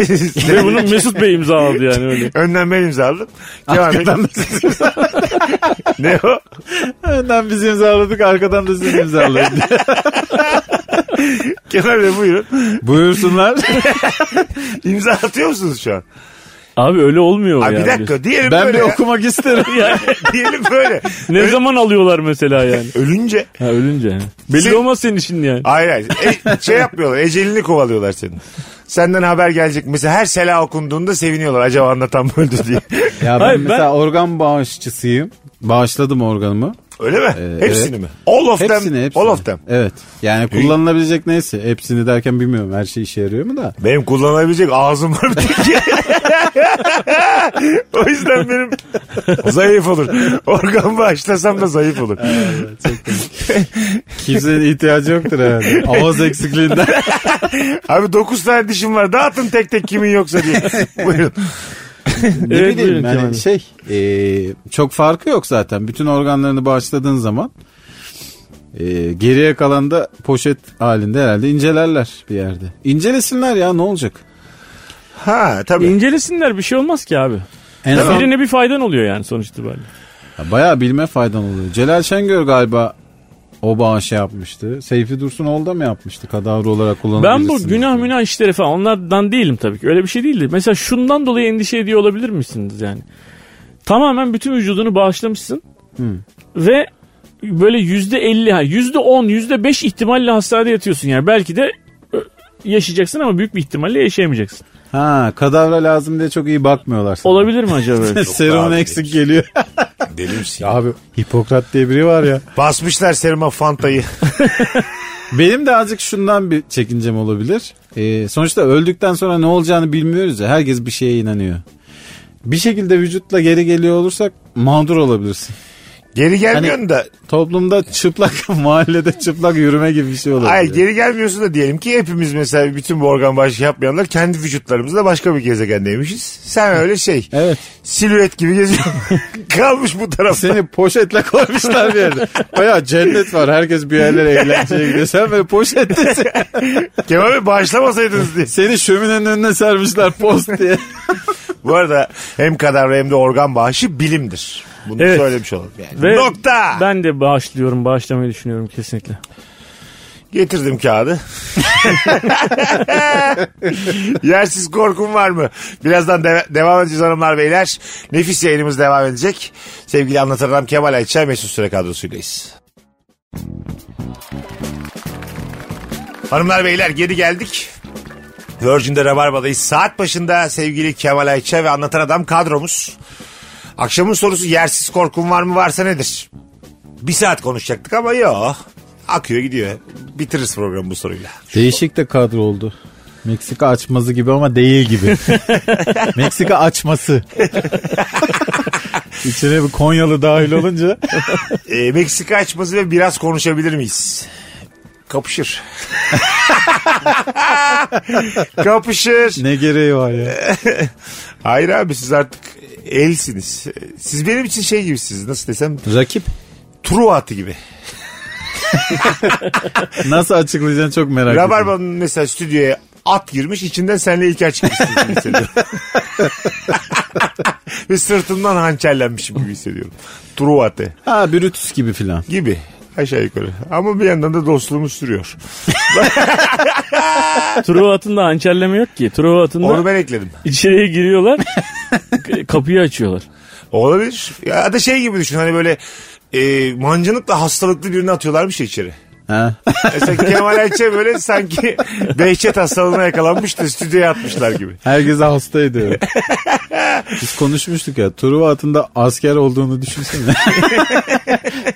Speaker 5: Ve bunu Mesut Bey imzaladı yani öyle.
Speaker 3: Önden ben imzaladım. Kemal Bey,
Speaker 4: Arkadan da siz
Speaker 3: <laughs> ne o?
Speaker 4: önden biz imzaladık arkadan da siz imzalayın.
Speaker 3: <laughs>
Speaker 4: diye.
Speaker 3: Kemal Bey buyurun.
Speaker 4: Buyursunlar.
Speaker 3: İmza atıyor musunuz şu an?
Speaker 5: Abi öyle olmuyor
Speaker 3: Abi
Speaker 5: yani.
Speaker 3: bir dakika diyelim
Speaker 4: Ben
Speaker 3: böyle.
Speaker 4: bir
Speaker 3: ya.
Speaker 4: okumak isterim.
Speaker 5: Yani
Speaker 3: <laughs> diyelim böyle.
Speaker 5: ne zaman alıyorlar mesela yani?
Speaker 3: Ölünce.
Speaker 5: Ha ölünce. Belli
Speaker 3: Sen-
Speaker 5: olmaz senin işin yani.
Speaker 3: Hayır hayır. E, şey yapmıyorlar. Ecelini kovalıyorlar senin. Senden haber gelecek. Mesela her sela okunduğunda seviniyorlar. Acaba anlatan mı öldü diye. <laughs>
Speaker 4: Ya ben
Speaker 5: Hayır, ben-
Speaker 4: mesela organ bağışçısıyım. Bağışladım organımı.
Speaker 3: Öyle mi?
Speaker 4: Ee,
Speaker 3: hepsini
Speaker 4: evet.
Speaker 3: mi? All of
Speaker 4: Hepsini
Speaker 3: them.
Speaker 4: hepsini.
Speaker 3: All of them.
Speaker 4: Evet. Yani kullanılabilecek neyse. Hepsini derken bilmiyorum her şey işe yarıyor mu da.
Speaker 3: Benim kullanabilecek ağzım var bir tek. <laughs> o yüzden benim zayıf olur. Organ bağışlasam da zayıf olur. <laughs>
Speaker 4: Kimsenin ihtiyacı yoktur herhalde. Ağız eksikliğinden.
Speaker 3: Abi 9 tane dişim var. Dağıtın tek tek kimin yoksa
Speaker 4: <laughs>
Speaker 3: diye. Buyurun.
Speaker 4: ne
Speaker 5: Evet, buyurun
Speaker 4: bileyim yani
Speaker 5: Kemal Bey.
Speaker 4: şey e, çok farkı yok zaten. Bütün organlarını bağışladığın zaman e, geriye kalan da poşet halinde herhalde incelerler bir yerde. İncelesinler ya ne olacak?
Speaker 3: Ha tabii.
Speaker 5: İncelesinler bir şey olmaz ki abi.
Speaker 4: En son
Speaker 5: Birine bir faydan oluyor yani sonuç itibariyle.
Speaker 4: Ya bayağı bilme faydan oluyor. Celal Şengör galiba o bağışı yapmıştı. Seyfi Dursun Olda mı yapmıştı? Kadavra olarak
Speaker 5: Ben
Speaker 4: kullanabilirsiniz.
Speaker 5: bu günah münah işleri falan onlardan değilim tabii ki. Öyle bir şey değildi. Mesela şundan dolayı endişe ediyor olabilir misiniz yani? Tamamen bütün vücudunu bağışlamışsın. Ve böyle yüzde elli, yüzde on, yüzde beş ihtimalle hastanede yatıyorsun yani. Belki de ö, yaşayacaksın ama büyük bir ihtimalle yaşayamayacaksın.
Speaker 4: Ha kadavra lazım diye çok iyi bakmıyorlar sana.
Speaker 5: Olabilir mi acaba?
Speaker 3: <laughs>
Speaker 5: öyle?
Speaker 4: Serumun
Speaker 3: Abi,
Speaker 4: eksik geliyor.
Speaker 3: Deli
Speaker 4: <laughs>
Speaker 3: misin?
Speaker 4: Abi Hipokrat diye biri var ya.
Speaker 3: Basmışlar seruma fantayı.
Speaker 4: Benim de azıcık şundan bir çekincem olabilir. Ee, sonuçta öldükten sonra ne olacağını bilmiyoruz ya. Herkes bir şeye inanıyor. Bir şekilde vücutla geri geliyor olursak mağdur olabilirsin.
Speaker 3: Geri
Speaker 4: Hani
Speaker 3: gelmiyorsun da.
Speaker 4: Toplumda çıplak, <laughs> mahallede çıplak yürüme gibi bir şey olabilir.
Speaker 3: Hayır geri gelmiyorsun da diyelim ki hepimiz mesela bütün bu organ bağışı yapmayanlar kendi vücutlarımızla başka bir gezegendeymişiz. Sen öyle şey.
Speaker 4: Evet.
Speaker 3: Silüet gibi
Speaker 4: <laughs>
Speaker 3: geziyorsun. Kalmış bu tarafta.
Speaker 4: Seni poşetle koymuşlar bir yerde. Baya cennet var. Herkes bir yerlere eğlenceye gidiyor. Sen böyle poşettesin.
Speaker 3: Kemal Bey bağışlamasaydınız diye.
Speaker 4: Seni şöminenin önüne sermişler post diye.
Speaker 3: Bu arada hem kadavra hem de organ bağışı bilimdir. Bunu
Speaker 5: Evet.
Speaker 3: söylemiş olalım. Yani.
Speaker 5: Ve
Speaker 3: Nokta.
Speaker 5: Ben de bağışlıyorum, bağışlamayı düşünüyorum kesinlikle.
Speaker 3: Getirdim kağıdı. <laughs> Yersiz korkum var mı? Birazdan de- devam edeceğiz hanımlar beyler. Nefis yayınımız devam edecek. Sevgili anlatan adam Kemal Ayça Mesut Süre kadrosuylayız. Hanımlar beyler geri geldik. Virgin'de Rabarba'dayız. Saat başında sevgili Kemal Ayça ve Anlatan Adam kadromuz. Akşamın sorusu yersiz korkum var mı varsa nedir? Bir saat konuşacaktık ama yok. Akıyor gidiyor. Bitiririz programı bu soruyla.
Speaker 4: Değişik de kadro oldu. Meksika açmazı gibi ama değil gibi. Meksika açması. İçine bir Konyalı dahil olunca.
Speaker 3: Ee, Meksika açması ve biraz konuşabilir miyiz? Kapışır. <laughs> Kapışır.
Speaker 4: ne gereği var ya?
Speaker 3: Hayır abi siz artık elsiniz. Siz benim için şey gibisiniz nasıl desem
Speaker 4: Rakip.
Speaker 3: Truva atı gibi.
Speaker 4: Nasıl açıklayacaksın çok merak ediyorum.
Speaker 3: Rabarba'nın mesela stüdyoya at girmiş içinden senle İlker çıkmışsın gibi hissediyorum. <laughs> Ve sırtımdan hançerlenmişim gibi hissediyorum. Truva atı
Speaker 4: Ha Brutus gibi filan.
Speaker 3: gibi aşağı yukarı. Ama bir yandan da dostluğumuz sürüyor.
Speaker 5: Truva atında hançerleme yok ki. Truva atında
Speaker 3: Onu ben ekledim. <laughs>
Speaker 5: içeriye giriyorlar, k- kapıyı açıyorlar.
Speaker 3: Olabilir. Ya da şey gibi düşün hani böyle e, mancınıkla hastalıklı birini atıyorlarmış ya içeri.
Speaker 4: Ha.
Speaker 3: Mesela Kemal Ayça böyle sanki Behçet hastalığına yakalanmış da stüdyoya atmışlar gibi.
Speaker 4: Herkese
Speaker 3: <laughs>
Speaker 4: hasta ediyor. Biz konuşmuştuk ya. Truva atında asker
Speaker 3: <laughs>
Speaker 4: olduğunu düşünsene.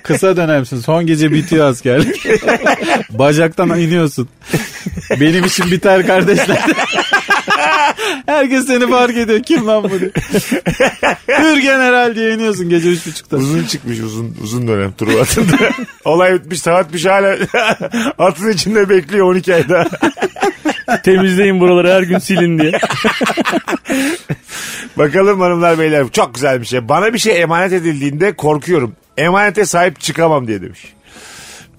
Speaker 4: Kısa dönemsin. Son gece bitiyor
Speaker 3: <laughs>
Speaker 4: askerlik. Bacaktan iniyorsun. Benim işim
Speaker 3: <laughs>
Speaker 4: biter kardeşler. Herkes seni fark ediyor. Kim lan bu diye. Hür general diye iniyorsun gece üç buçukta.
Speaker 3: Uzun çıkmış uzun uzun dönem turu atında. Olay bitmiş saat bitmiş hala <laughs> atın içinde bekliyor 12 ayda.
Speaker 5: Temizleyin buraları her gün silin diye.
Speaker 3: Bakalım hanımlar beyler çok güzel bir şey. Bana bir şey emanet edildiğinde korkuyorum. Emanete sahip çıkamam diye demiş.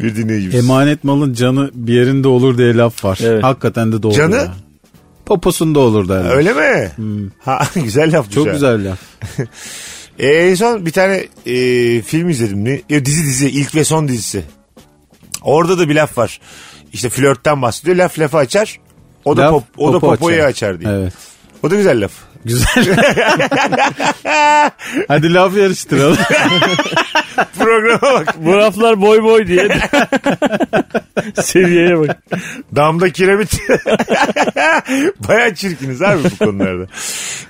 Speaker 3: Bir dinleyicimiz.
Speaker 4: Emanet malın canı bir yerinde olur diye laf var.
Speaker 5: Evet.
Speaker 4: Hakikaten de doğru.
Speaker 3: Canı?
Speaker 4: ya. Poposunda olur derler.
Speaker 3: Öyle mi? Ha, <laughs> güzel laf
Speaker 4: Hmm. Çok güzel laf.
Speaker 3: E, en son bir tane e, film izledim. Ne? Ya, dizi dizi ilk ve son dizisi. Orada da bir laf var. İşte flörtten bahsediyor. Laf lafı açar. O da
Speaker 4: Laf,
Speaker 3: pop, o da
Speaker 4: popo
Speaker 3: popoyu açar diye.
Speaker 4: Evet.
Speaker 3: O da güzel laf. <laughs>
Speaker 4: Güzel. Hadi laf <laughs> yarıştıralım.
Speaker 3: Programa bak.
Speaker 5: Bu raflar boy boy diye. Seviyeye bak.
Speaker 3: Damda kiremit. <laughs> Baya çirkiniz abi bu konularda.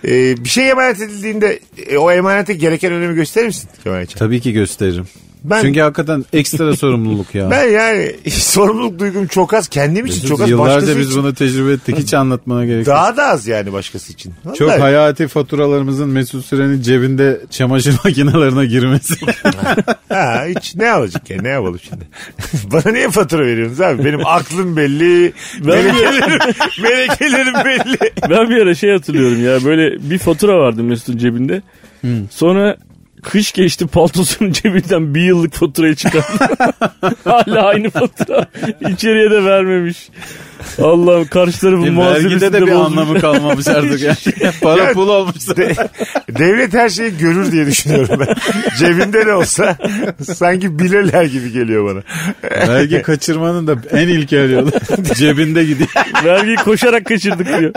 Speaker 3: Ee, E, bir şey emanet edildiğinde e, o emanete gereken önemi gösterir misin? Kemal Ayça?
Speaker 4: Tabii ki gösteririm.
Speaker 3: Ben
Speaker 4: Çünkü hakikaten ekstra sorumluluk ya.
Speaker 3: ben yani <laughs> sorumluluk duygum çok az. Kendim için
Speaker 4: Mesut,
Speaker 3: çok az.
Speaker 4: yıllarca
Speaker 3: başkası
Speaker 4: biz
Speaker 3: için
Speaker 4: bunu tecrübe ettik. Hiç anlatmana gerek yok.
Speaker 3: daha da az yani başkası için. Vallahi.
Speaker 4: Çok hayati faturalarımızın Mesut Süren'in cebinde çamaşır <laughs>
Speaker 3: <laughs>
Speaker 4: makinelerine girmesi.
Speaker 3: Ha, hiç ne alacak ya ne yapalım şimdi. <laughs> Bana niye fatura veriyorsunuz abi? Benim aklım belli. melekelerim, melekelerim belli.
Speaker 5: Ben bir ara şey hatırlıyorum ya böyle bir fatura vardı Mesut'un cebinde. Sonra kış geçti paltosunun <laughs> cebinden bir yıllık faturayı çıkardı. <laughs> Hala aynı fatura. İçeriye de vermemiş. Allah'ım karşı tarafın muhasebesini
Speaker 4: E, Vergide
Speaker 5: de,
Speaker 4: de bir
Speaker 5: bozmuş.
Speaker 4: anlamı kalmamış artık. ya.
Speaker 3: <laughs>
Speaker 4: Para pul olmuş.
Speaker 3: De- devlet her şeyi görür diye düşünüyorum ben. Cebinde de olsa sanki bilirler gibi geliyor bana. <laughs>
Speaker 4: Vergi kaçırmanın da en ilkel yolu. Cebinde gidiyor.
Speaker 5: Vergiyi koşarak kaçırdık diyor.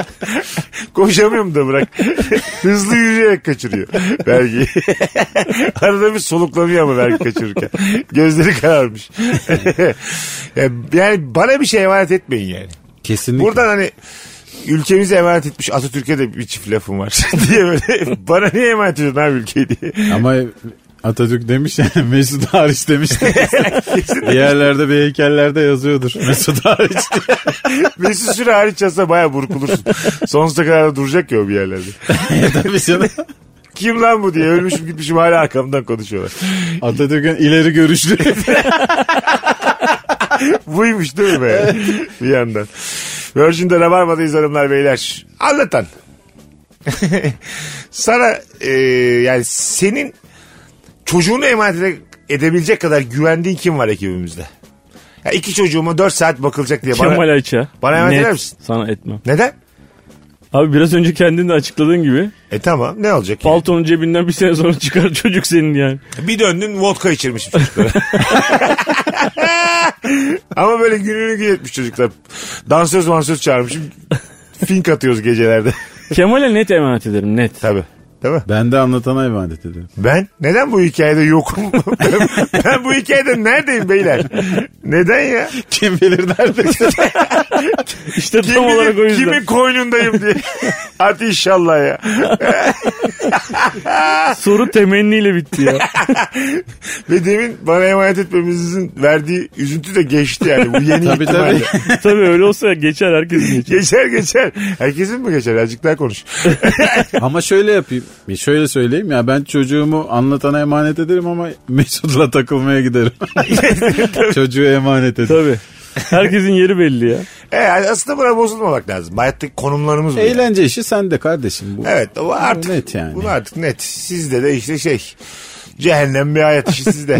Speaker 3: Koşamıyorum da bırak. <laughs> Hızlı yürüyerek kaçırıyor vergiyi. <laughs> Arada bir soluklanıyor ama vergi kaçırırken. Gözleri kararmış. <laughs> yani bana bir şey emanet etmeyin yani.
Speaker 4: Kesinlikle.
Speaker 3: Buradan hani ülkemize emanet etmiş Atatürk'e de bir çift lafım var <laughs> diye böyle bana niye emanet ediyorsun abi ülkeyi diye.
Speaker 4: Ama Atatürk demiş yani <laughs> Mesut hariç demiş.
Speaker 3: <laughs>
Speaker 4: Diğerlerde bir heykellerde yazıyordur.
Speaker 3: <laughs>
Speaker 4: Mesut hariç. diye.
Speaker 3: Mesut Süre hariç yazsa baya burkulursun. Sonsuza kadar da duracak ya o bir yerlerde.
Speaker 4: Tabii canım.
Speaker 3: Kim lan bu diye ölmüşüm gitmişim hala arkamdan konuşuyorlar.
Speaker 4: Atatürk'ün ileri görüşlü. <laughs>
Speaker 3: Buymuş değil mi be? <laughs> bir yandan. Virgin'de Rabarba'dayız hanımlar beyler. Anlatan. Sana e, yani senin çocuğunu emanet ede- edebilecek kadar güvendiğin kim var ekibimizde? Ya iki çocuğuma dört saat bakılacak diye E, bana...
Speaker 5: Kemal Ayça.
Speaker 3: bana emanet
Speaker 5: Net.
Speaker 3: eder misin?
Speaker 5: Sana etmem.
Speaker 3: Neden?
Speaker 5: Abi biraz önce kendin de açıkladığın gibi
Speaker 3: E tamam ne olacak? yani?
Speaker 5: paltonun cebinden bir sene sonra çıkar çocuk senin yani.
Speaker 3: Bir döndün vodka içirmişim çocuklara. Ama böyle gününü gün etmiş çocuklar. Dansöz mansöz çağırmışım. Fink atıyoruz gecelerde. <laughs>
Speaker 5: Kemal'e net emanet ederim net.
Speaker 3: Tabii. Değil mi?
Speaker 4: Ben de anlatana emanet ediyorum.
Speaker 3: Ben neden bu hikayede
Speaker 5: <laughs>
Speaker 3: yokum? ben, ben bu hikayede neredeyim beyler? Neden ya?
Speaker 4: Kim bilir
Speaker 3: <laughs>
Speaker 4: nerede?
Speaker 5: İşte tam
Speaker 3: Kimin,
Speaker 5: olarak o yüzden.
Speaker 3: kimin koynundayım
Speaker 5: <laughs>
Speaker 3: diye. Hadi inşallah ya.
Speaker 5: Soru temenniyle bitti ya.
Speaker 3: Ve demin bana emanet etmemizin verdiği üzüntü de geçti yani. Bu
Speaker 5: <laughs>
Speaker 3: yeni
Speaker 4: Tabii,
Speaker 3: ihtimalle.
Speaker 4: tabii.
Speaker 5: Tabii öyle olsa geçer herkesin
Speaker 3: <laughs>
Speaker 5: geçer.
Speaker 3: Geçer geçer. Herkesin mi geçer? Azıcık daha konuş.
Speaker 4: Ama şöyle yapayım. Bir şöyle söyleyeyim ya ben çocuğumu anlatana emanet ederim ama Mesut'la
Speaker 3: <laughs>
Speaker 4: takılmaya giderim. Çocuğu emanet ederim.
Speaker 5: Tabii. Herkesin yeri belli ya.
Speaker 3: E, yani aslında buna bozulmamak lazım. Hayattaki konumlarımız bu. yani.
Speaker 4: Eğlence işi sende kardeşim. Bu.
Speaker 3: Evet o artık.
Speaker 4: Net yani.
Speaker 3: Bunu artık net. Sizde de işte şey. Cehennem bir hayat işi
Speaker 5: <laughs>
Speaker 3: sizde.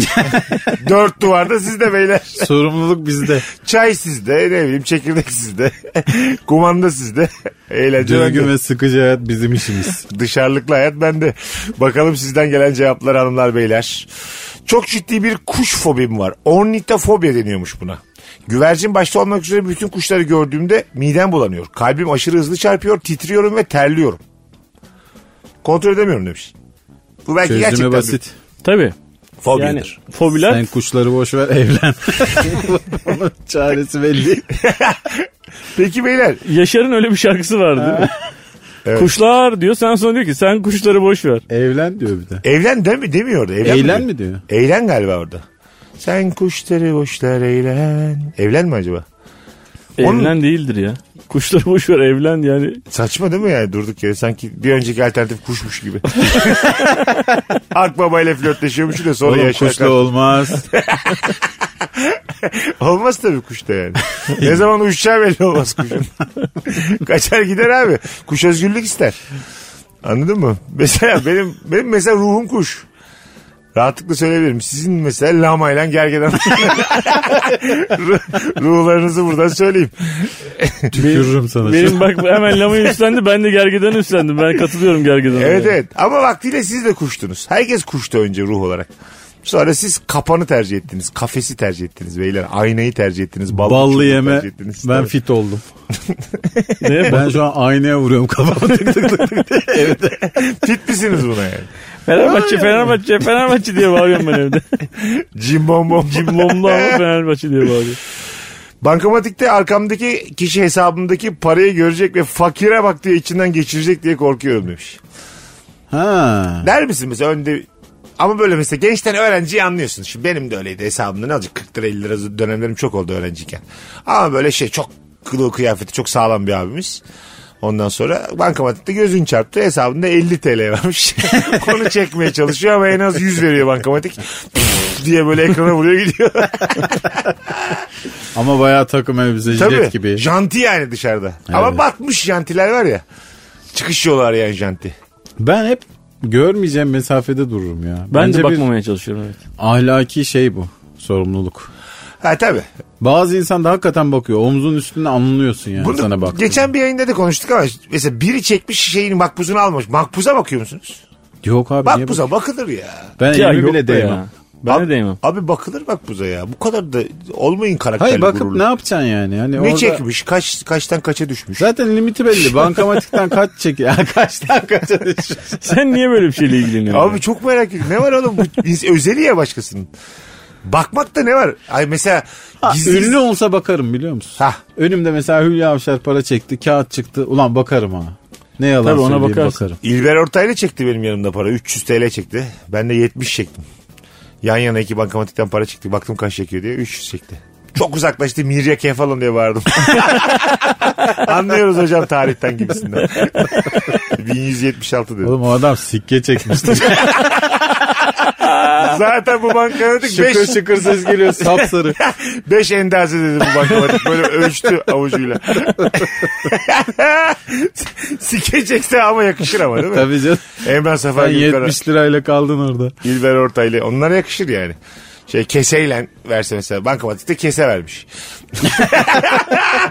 Speaker 3: Dört duvarda sizde beyler.
Speaker 4: Sorumluluk bizde.
Speaker 3: Çay sizde. Ne bileyim çekirdek sizde. <laughs> Kumanda sizde. <laughs> Eğlence
Speaker 4: Düzgün
Speaker 3: bende.
Speaker 4: ve sıkıcı hayat bizim işimiz.
Speaker 3: Dışarılıklı hayat bende. Bakalım sizden gelen cevaplar hanımlar beyler. Çok ciddi bir kuş fobim var. Ornitofobiya deniyormuş buna. Güvercin başta olmak üzere bütün kuşları gördüğümde midem bulanıyor. Kalbim aşırı hızlı çarpıyor, titriyorum ve terliyorum. Kontrol edemiyorum demiş. Bu belki gerçekten
Speaker 4: Çözümü
Speaker 3: basit.
Speaker 4: basit.
Speaker 5: Tabii.
Speaker 3: bir
Speaker 5: Yani
Speaker 3: fobiyadır.
Speaker 5: fobiler
Speaker 4: Sen kuşları boş ver evlen. <laughs> Onun çaresi belli.
Speaker 3: Peki beyler
Speaker 5: Yaşar'ın öyle bir şarkısı vardı. Kuşlar diyor sen sonra diyor ki sen kuşları boş ver.
Speaker 4: Evlen diyor bir de.
Speaker 3: evlen de mi demiyor orada? Evlen,
Speaker 4: Eğlen
Speaker 3: mi? diyor?
Speaker 4: mi diyor?
Speaker 3: Eğlen galiba orada. Sen kuşları boşlar eğlen. Evlen mi acaba? Onun-
Speaker 5: Evlen değildir ya. Kuşları boş ver evlen yani.
Speaker 3: Saçma değil mi yani durduk yere sanki bir önceki alternatif kuşmuş gibi. Akbaba ile flörtleşiyormuş da sonra
Speaker 4: Oğlum
Speaker 3: yaşar.
Speaker 4: kuşla olmaz.
Speaker 3: Olmaz tabii kuşta yani. ne zaman uçacağı belli olmaz kuşun. Kaçar gider abi. Kuş özgürlük ister. Anladın mı? Mesela benim benim mesela ruhum kuş. Rahatlıkla söyleyebilirim. Sizin mesela lama ile gergedan. Ruh- Ruhlarınızı buradan söyleyeyim.
Speaker 4: Tükürürüm sana.
Speaker 5: Benim bak
Speaker 3: <laughs>
Speaker 5: hemen lamayı üstlendi ben de gergedan üstlendim. Ben katılıyorum gergedana.
Speaker 3: Evet
Speaker 5: yani.
Speaker 3: evet. Ama vaktiyle siz de kuştunuz. Herkes kuştu önce ruh olarak. Sonra siz kapanı tercih ettiniz. Kafesi tercih ettiniz beyler. Aynayı tercih ettiniz. Ballı,
Speaker 4: Ballı
Speaker 3: çubuğu
Speaker 4: yeme
Speaker 3: tercih ettiniz.
Speaker 4: ben
Speaker 3: Tabii. <laughs>
Speaker 4: fit oldum.
Speaker 5: Ne?
Speaker 4: Ben şu an aynaya vuruyorum kafamı. Tık tık tık.
Speaker 3: fit misiniz buna
Speaker 4: <laughs>
Speaker 3: yani?
Speaker 5: Fenerbahçe Fenerbahçe Fenerbahçe diye bağırıyorum
Speaker 3: <laughs>
Speaker 5: ben evde.
Speaker 3: Cimbombom.
Speaker 5: Cimbomlu ama Fenerbahçe diye bağırıyor.
Speaker 3: Bankamatikte arkamdaki kişi hesabımdaki parayı görecek ve fakire bak diye içinden geçirecek diye korkuyorum demiş.
Speaker 4: Ha.
Speaker 3: Der misin mesela önde Ama böyle mesela gençten öğrenciyi anlıyorsun. Şimdi benim de öyleydi hesabımda ne olacak 40 lira 50 lira dönemlerim çok oldu öğrenciyken. Ama böyle şey çok kılığı kıyafeti çok sağlam bir abimiz. Ondan sonra bankamatikte gözün çarptı hesabında 50 TL varmış. <laughs> Konu çekmeye çalışıyor ama en az 100 veriyor bankamatik. diye böyle ekrana vuruyor gidiyor.
Speaker 4: Ama bayağı takım elbise
Speaker 3: Tabii.
Speaker 4: jilet gibi.
Speaker 3: Janti yani dışarıda. Ama batmış jantiler var ya. Çıkış yolu arayan janti.
Speaker 4: Ben hep görmeyeceğim mesafede dururum ya.
Speaker 5: Ben
Speaker 4: Bence
Speaker 5: de
Speaker 4: bir
Speaker 5: bakmamaya çalışıyorum. Evet.
Speaker 4: ahlaki şey bu. Sorumluluk.
Speaker 3: Ha tabii.
Speaker 4: Bazı insan da hakikaten bakıyor. Omzun üstünde anlıyorsun yani
Speaker 3: Bunu
Speaker 4: sana bak.
Speaker 3: geçen bir yayında da konuştuk ama mesela biri çekmiş şeyini makbuzunu almış. Makbuza bakıyor musunuz?
Speaker 4: Yok abi niye
Speaker 3: Makbuza bakılır ya.
Speaker 4: bak- Ben
Speaker 5: Ya
Speaker 4: elimi
Speaker 5: yok
Speaker 4: bile
Speaker 5: be ya.
Speaker 4: değmem.
Speaker 5: Ben
Speaker 3: abi,
Speaker 5: de değmem.
Speaker 3: Abi bakılır makbuza ya. Bu kadar da olmayın karakterli
Speaker 5: Hani
Speaker 4: Hayır bakıp
Speaker 3: gururlu.
Speaker 4: ne yapacaksın yani? Hani
Speaker 3: Ne
Speaker 4: orada-
Speaker 3: çekmiş? Kaç kaçtan kaça düşmüş?
Speaker 4: Zaten limiti belli. Bankamatikten kaç çekiyor? Kaçtan kaça düşüyor?
Speaker 5: <laughs> Sen niye böyle bir şeyle ilgileniyorsun?
Speaker 3: Abi çok merak ediyorum. Ne var
Speaker 4: <laughs>
Speaker 3: oğlum? Bu ins- özeli ya başkasının. Bakmakta ne var? Ay mesela gizli...
Speaker 4: Ünlü olsa bakarım biliyor musun?
Speaker 3: Hah.
Speaker 4: Önümde mesela Hülya Avşar para çekti, kağıt çıktı. Ulan bakarım ha. Ne yalan
Speaker 5: Tabii ona
Speaker 4: söyleyeyim
Speaker 5: bakarsın.
Speaker 4: bakarım.
Speaker 3: İlber Ortaylı çekti benim yanımda para. 300 TL çekti. Ben de 70 çektim. Yan yana iki bankamatikten para çekti. Baktım kaç çekiyor diye 300 çekti. Çok uzaklaştı Mirya Kefalon diye bağırdım. <laughs> Anlıyoruz hocam tarihten gibisinden. <laughs> 1176 dedi.
Speaker 4: Oğlum o adam sikke çekmişti.
Speaker 3: Zaten bu bankamatik 5
Speaker 4: şıkır şıkır
Speaker 3: <laughs>
Speaker 4: ses geliyor sapsarı.
Speaker 3: 5 endaze dedi bu bankamatik. Böyle ölçtü
Speaker 4: <laughs>
Speaker 3: avucuyla. Sikecekse ama yakışır ama değil mi?
Speaker 4: Tabii canım.
Speaker 3: Emrah
Speaker 4: Sen
Speaker 3: Safa Gülkara.
Speaker 4: 70 lirayla kaldın orada.
Speaker 3: İlber Ortaylı. Onlara yakışır yani. Şey keseyle verse mesela bankamatikte kese vermiş.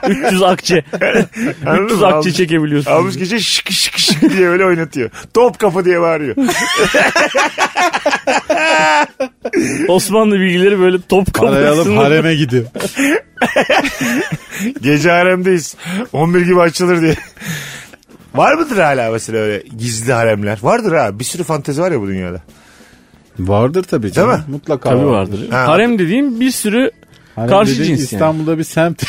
Speaker 5: 300 akçe.
Speaker 3: <laughs> Anladın
Speaker 5: 300
Speaker 3: mı?
Speaker 5: akçe
Speaker 3: Almış-
Speaker 5: çekebiliyorsun.
Speaker 3: Almış gece şık şık şık <laughs> diye öyle oynatıyor. Top kapı diye bağırıyor.
Speaker 5: Osmanlı bilgileri böyle top
Speaker 4: Parayı alıp
Speaker 5: kapısını
Speaker 4: hareme gidiyor.
Speaker 3: Gece haremdeyiz. 11 gibi açılır diye. Var mıdır hala mesela öyle gizli haremler? Vardır ha. Bir sürü fantezi var ya bu dünyada. <laughs>
Speaker 4: Vardır tabii canım.
Speaker 3: Değil mi?
Speaker 4: Mutlaka
Speaker 5: Tabii vardır.
Speaker 3: Ha.
Speaker 5: Harem dediğim bir sürü
Speaker 4: Harem
Speaker 5: Karşı
Speaker 4: dediğin
Speaker 5: cins yani.
Speaker 4: İstanbul'da bir semt.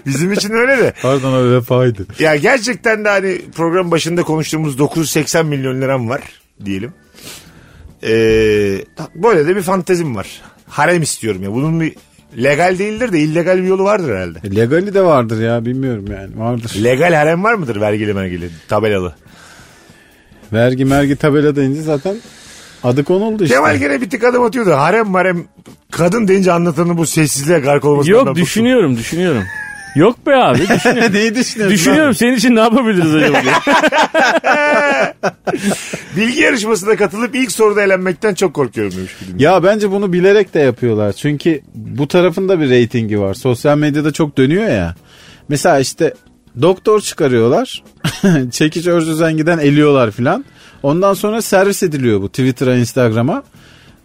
Speaker 4: <laughs>
Speaker 3: Bizim için öyle de.
Speaker 4: Pardon o vefaydı.
Speaker 3: Ya gerçekten de hani program başında konuştuğumuz 980 milyon liram var diyelim. Ee, böyle de bir fantezim var. Harem istiyorum ya. Bunun bir legal değildir de illegal bir yolu vardır herhalde.
Speaker 4: E, Legali de vardır ya bilmiyorum yani vardır.
Speaker 3: Legal harem var mıdır vergili mergili tabelalı?
Speaker 4: Vergi mergi tabela deyince zaten adı konuldu işte.
Speaker 3: Kemal gene bir tık adım atıyordu. Harem marem kadın deyince anlatanın bu sessizliğe gark olmasından
Speaker 5: Yok
Speaker 3: bıktım.
Speaker 5: düşünüyorum düşünüyorum. Yok
Speaker 3: <laughs>
Speaker 5: be abi düşünüyorum.
Speaker 4: Neyi düşünüyorsun?
Speaker 5: düşünüyorum senin için ne yapabiliriz acaba? diye.
Speaker 3: Bilgi yarışmasına katılıp ilk soruda elenmekten çok korkuyorum demiş. bir dinleyici.
Speaker 4: Ya bence bunu bilerek de yapıyorlar. Çünkü bu tarafında bir reytingi var. Sosyal medyada çok dönüyor ya. Mesela işte doktor çıkarıyorlar. <laughs> Çekiç örzüzen giden eliyorlar filan. Ondan sonra servis ediliyor bu Twitter'a, Instagram'a.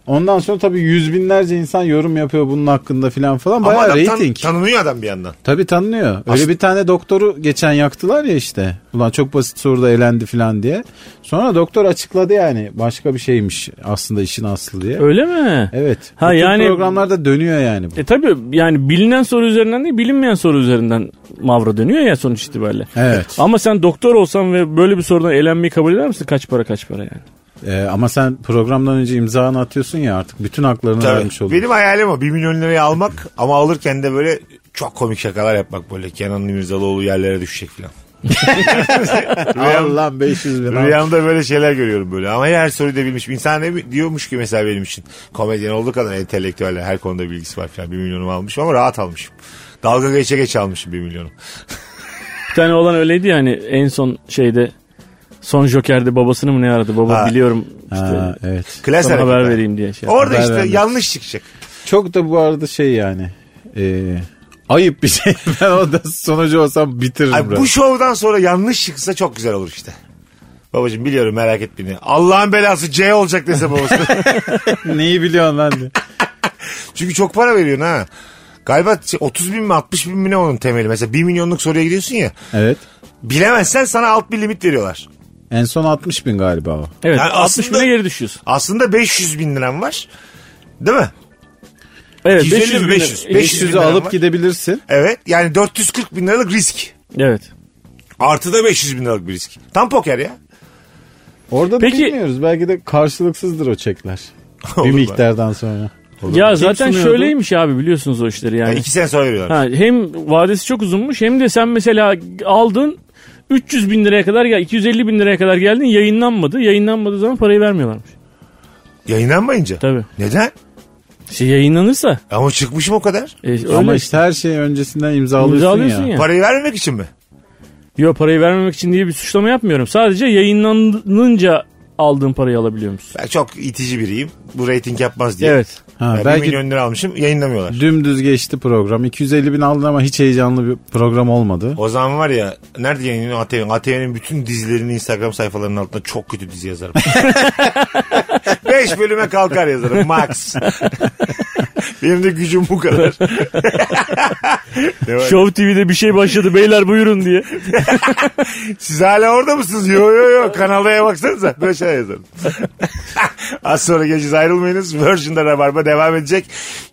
Speaker 4: Ondan sonra tabii yüz binlerce insan yorum yapıyor bunun hakkında filan falan.
Speaker 3: Ama
Speaker 4: Bayağı
Speaker 3: adam tan-
Speaker 4: reyting.
Speaker 3: tanınıyor adam bir yandan.
Speaker 4: Tabii tanınıyor. Öyle
Speaker 3: Aslında-
Speaker 4: bir tane doktoru geçen yaktılar ya işte. Ulan çok basit soruda elendi filan diye. Sonra doktor açıkladı yani başka bir şeymiş aslında işin aslı diye.
Speaker 5: Öyle mi?
Speaker 4: Evet.
Speaker 5: Ha,
Speaker 4: Bütün
Speaker 5: yani-
Speaker 4: programlarda dönüyor yani bu.
Speaker 5: E tabi yani bilinen soru üzerinden değil bilinmeyen soru üzerinden mavra dönüyor ya sonuç itibariyle.
Speaker 4: Evet.
Speaker 5: Ama sen doktor olsan ve böyle bir sorudan elenmeyi kabul eder misin? Kaç para kaç para yani?
Speaker 4: Ee, ama sen programdan önce imzanı atıyorsun ya artık bütün haklarını
Speaker 3: Tabii.
Speaker 4: vermiş oldun.
Speaker 3: Benim hayalim o. 1 milyon lirayı almak ama alırken de böyle çok komik şakalar yapmak böyle. Kenan İmirzalıoğlu yerlere düşecek falan.
Speaker 4: Al lan 500 bin. al.
Speaker 3: Rüyamda böyle şeyler görüyorum böyle. Ama her soruyu da bilmiş. İnsan ne bi- diyormuş ki mesela benim için. Komedyen olduğu kadar entelektüel her konuda bilgisi var falan. 1 milyonumu almışım ama rahat almışım. Dalga geçe geç almışım 1 milyonu.
Speaker 5: Bir tane olan öyleydi yani en son şeyde son Joker'de babasını mı ne aradı? Baba
Speaker 3: Ha.
Speaker 5: biliyorum işte
Speaker 4: Ha, evet.
Speaker 3: Klas
Speaker 5: sana haber
Speaker 3: hareketler.
Speaker 5: vereyim diye şey.
Speaker 3: Orada
Speaker 4: Haber
Speaker 3: işte
Speaker 4: vermez.
Speaker 3: yanlış çıkacak.
Speaker 4: Çok da bu arada şey yani. ee, ayıp bir şey. <laughs> ben orada sonucu olsam bitiririm.
Speaker 3: Ay, bu
Speaker 4: biraz.
Speaker 3: şovdan sonra yanlış çıksa çok güzel olur işte. Babacım biliyorum merak et beni. Allah'ın belası C olacak dese babası.
Speaker 4: Neyi biliyorsun lan diye.
Speaker 3: Çünkü çok para veriyorsun ha. Galiba 30 bin mi 60 bin mi ne onun temeli. Mesela 1 milyonluk soruya gidiyorsun ya.
Speaker 4: Evet.
Speaker 3: Bilemezsen sana alt bir limit veriyorlar.
Speaker 4: En son 60 bin galiba o.
Speaker 5: Evet
Speaker 3: Yani
Speaker 5: 60
Speaker 3: aslında-
Speaker 5: bine geri düşüyorsun.
Speaker 3: Aslında 500 bin liran var. Değil mi?
Speaker 5: Evet
Speaker 3: 250,
Speaker 5: 500 bin-
Speaker 3: 500, 500
Speaker 4: 500'ü
Speaker 3: bin
Speaker 4: alıp
Speaker 3: ama.
Speaker 4: gidebilirsin.
Speaker 3: Evet. Yani 440 bin liralık risk.
Speaker 5: Evet.
Speaker 3: Artı da 500 bin liralık bir risk. Tam poker ya.
Speaker 4: Orada da
Speaker 5: Peki-
Speaker 4: bilmiyoruz. Belki de karşılıksızdır
Speaker 3: <laughs>
Speaker 4: o çekler.
Speaker 3: Olur
Speaker 4: bir
Speaker 3: mu?
Speaker 4: miktardan sonra.
Speaker 5: Ya
Speaker 4: Kim
Speaker 5: zaten
Speaker 4: sunuyordu?
Speaker 5: şöyleymiş abi biliyorsunuz o işleri yani.
Speaker 3: Yani iki sene sonra veriyorlar.
Speaker 5: Ha, hem vadesi çok uzunmuş hem de sen mesela aldın 300 bin liraya kadar gel 250 bin liraya kadar geldin yayınlanmadı. Yayınlanmadığı zaman parayı vermiyorlarmış.
Speaker 3: Yayınlanmayınca.
Speaker 5: Tabii.
Speaker 3: Neden?
Speaker 5: Şey yayınlanırsa.
Speaker 3: Ama çıkmışım o kadar.
Speaker 5: E, öyle
Speaker 4: Ama
Speaker 5: işte.
Speaker 4: işte her şeyi öncesinden imzalıyorsun,
Speaker 5: İmzalıyorsun
Speaker 4: ya.
Speaker 5: ya.
Speaker 3: Parayı vermemek için mi?
Speaker 5: Yok parayı vermemek için diye bir suçlama yapmıyorum. Sadece yayınlanınca aldığın parayı alabiliyor musun?
Speaker 3: Ben çok itici biriyim. Bu reyting yapmaz diye.
Speaker 5: Evet.
Speaker 4: Ha,
Speaker 3: Yani bir
Speaker 4: belki
Speaker 3: milyon lira almışım yayınlamıyorlar.
Speaker 4: dümdüz geçti program. 250 bin aldın ama hiç heyecanlı bir program olmadı.
Speaker 3: O zaman var ya nerede yayınlanıyor ATV'nin? ATV'nin bütün dizilerini Instagram sayfalarının altında çok kötü dizi yazarım. 5 bölüme kalkar yazarım max. Benim de gücüm bu kadar. Ne var?
Speaker 5: Show TV'de bir şey başladı beyler buyurun diye.
Speaker 3: Siz hala orada mısınız? Yo yo yo kanalaya baksanıza. Böyle şey yazarım. Az sonra geleceğiz ayrılmayınız. Virgin'de Rabarba devam edecek.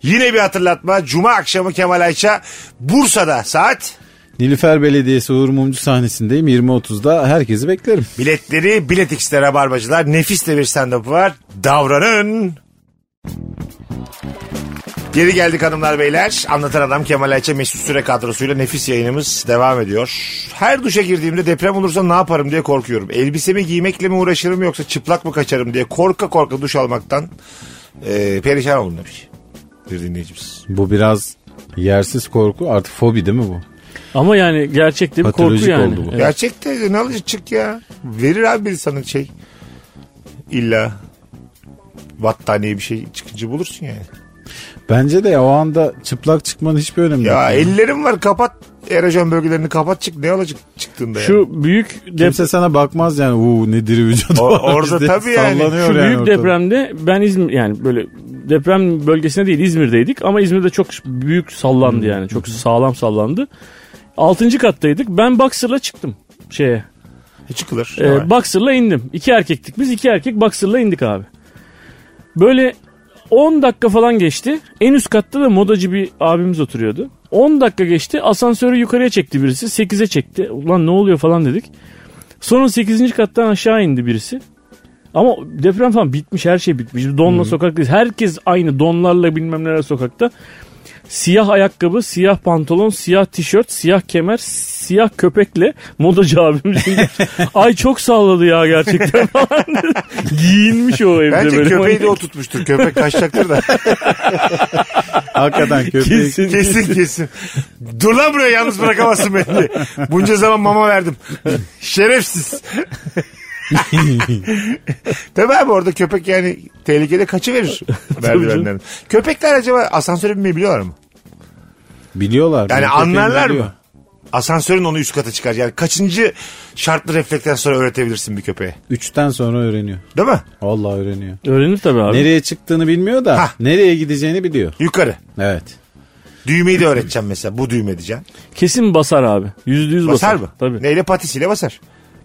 Speaker 3: Yine bir hatırlatma. Cuma akşamı Kemal Ayça Bursa'da saat
Speaker 4: Nilüfer Belediyesi Uğur Mumcu sahnesindeyim. 20.30'da herkesi beklerim.
Speaker 3: Biletleri Bilet X'de Rabarbacılar. Nefis de bir stand-up var. Davranın. Geri geldik hanımlar beyler. Anlatan adam Kemal Ayça Mesut Süre kadrosuyla nefis yayınımız devam ediyor. Her duşa girdiğimde deprem olursa ne yaparım diye korkuyorum. Elbisemi giymekle mi uğraşırım yoksa çıplak mı kaçarım diye korka korka duş almaktan eee, perişan oldum demiş. Bir dinleyicimiz.
Speaker 4: Bu biraz yersiz korku artık fobi değil mi bu?
Speaker 5: Ama yani gerçekte bir korku
Speaker 4: Patolojik
Speaker 5: yani.
Speaker 4: oldu bu.
Speaker 5: Evet.
Speaker 3: Gerçekte ne alacak çık ya. Verir abi bir sana şey. İlla battaniye bir şey çıkınca bulursun yani.
Speaker 4: Bence de ya, o anda çıplak çıkmanın hiçbir önemi yok.
Speaker 3: Ya ellerim var kapat erojen bölgelerini kapat çık ne olacak çıktığında yani.
Speaker 5: Şu büyük dep-
Speaker 4: Kimse sana bakmaz yani. Uuu ne diri vücudu
Speaker 3: O-
Speaker 4: var <laughs>
Speaker 3: orada
Speaker 4: diye
Speaker 3: tabii yani.
Speaker 4: sallanıyor
Speaker 5: Şu büyük
Speaker 4: ortada.
Speaker 5: depremde ben İzmir yani böyle deprem bölgesine değil İzmir'deydik ama İzmir'de çok büyük sallandı yani çok sağlam sallandı. Altıncı kattaydık ben boxer'la çıktım şeye
Speaker 3: E, çıkılır.
Speaker 5: Ee,
Speaker 3: Hemen.
Speaker 5: boxer'la indim. İki erkektik biz. iki erkek boxer'la indik abi. Böyle 10 dakika falan geçti. En üst katta da modacı bir abimiz oturuyordu. 10 dakika geçti. Asansörü yukarıya çekti birisi. 8'e çekti. Ulan ne oluyor falan dedik. Sonra 8. kattan aşağı indi birisi. Ama deprem falan bitmiş her şey bitmiş. Donla sokaktayız. Herkes aynı donlarla bilmem neler sokakta. Siyah ayakkabı, siyah pantolon, siyah tişört, siyah kemer, siyah köpekle modacı abim. <laughs> Ay çok salladı ya gerçekten falan. <laughs> Giyinmiş o evde
Speaker 3: Bence
Speaker 5: böyle.
Speaker 3: köpeği de oturtmuştur. Köpek kaçacaktır da.
Speaker 5: <laughs>
Speaker 4: Hakikaten köpek.
Speaker 5: <laughs> Kesin.
Speaker 3: kesin kesin. Dur lan buraya yalnız bırakamazsın beni. diye. Bunca zaman mama verdim. <laughs> Şerefsiz. Tabii abi orada köpek yani tehlikede kaçıverir merdivenlerden. Köpekler acaba asansöre binmeyi biliyorlar mı?
Speaker 4: Biliyorlar.
Speaker 3: Yani
Speaker 4: Köpeğin
Speaker 3: anlarlar
Speaker 4: biliyor.
Speaker 3: mı? Asansörün onu üst kata çıkar. Yani kaçıncı şartlı refleksten sonra öğretebilirsin bir köpeğe?
Speaker 4: Üçten sonra öğreniyor.
Speaker 3: Değil mi?
Speaker 4: Vallahi öğreniyor.
Speaker 5: Öğrenir tabii abi.
Speaker 4: Nereye çıktığını bilmiyor da
Speaker 3: Hah.
Speaker 4: nereye gideceğini biliyor.
Speaker 3: Yukarı.
Speaker 4: Evet.
Speaker 3: Düğmeyi de öğreteceğim mesela. Bu düğme diyeceğim.
Speaker 5: Kesin basar abi. Yüzde yüz
Speaker 3: Basar
Speaker 5: basar.
Speaker 3: mı?
Speaker 5: Tabii.
Speaker 3: Neyle patisiyle basar.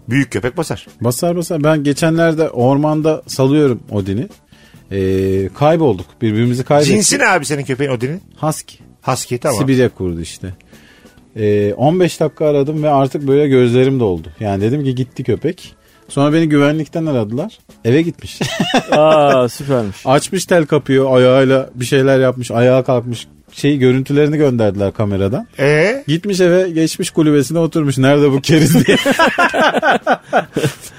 Speaker 3: Büyük köpek basar.
Speaker 4: Basar basar. Ben geçenlerde ormanda salıyorum Odin'i. Ee, kaybolduk. Birbirimizi kaybettik.
Speaker 3: Cinsi ne abi senin köpeğin Odin'in?
Speaker 4: Husky.
Speaker 3: Husky tamam.
Speaker 4: Sibirya kurdu işte. Ee, 15 dakika aradım ve artık böyle gözlerim doldu. Yani dedim ki gitti köpek. Sonra beni güvenlikten aradılar.
Speaker 3: <laughs>
Speaker 4: Eve gitmiş.
Speaker 5: Aa süpermiş.
Speaker 4: Açmış tel kapıyı ayağıyla bir şeyler yapmış. Ayağa kalkmış. Şey görüntülerini gönderdiler kameradan.
Speaker 3: Ee?
Speaker 4: Gitmiş eve geçmiş kulübesine oturmuş. Nerede bu
Speaker 3: <laughs>
Speaker 4: keriz diye.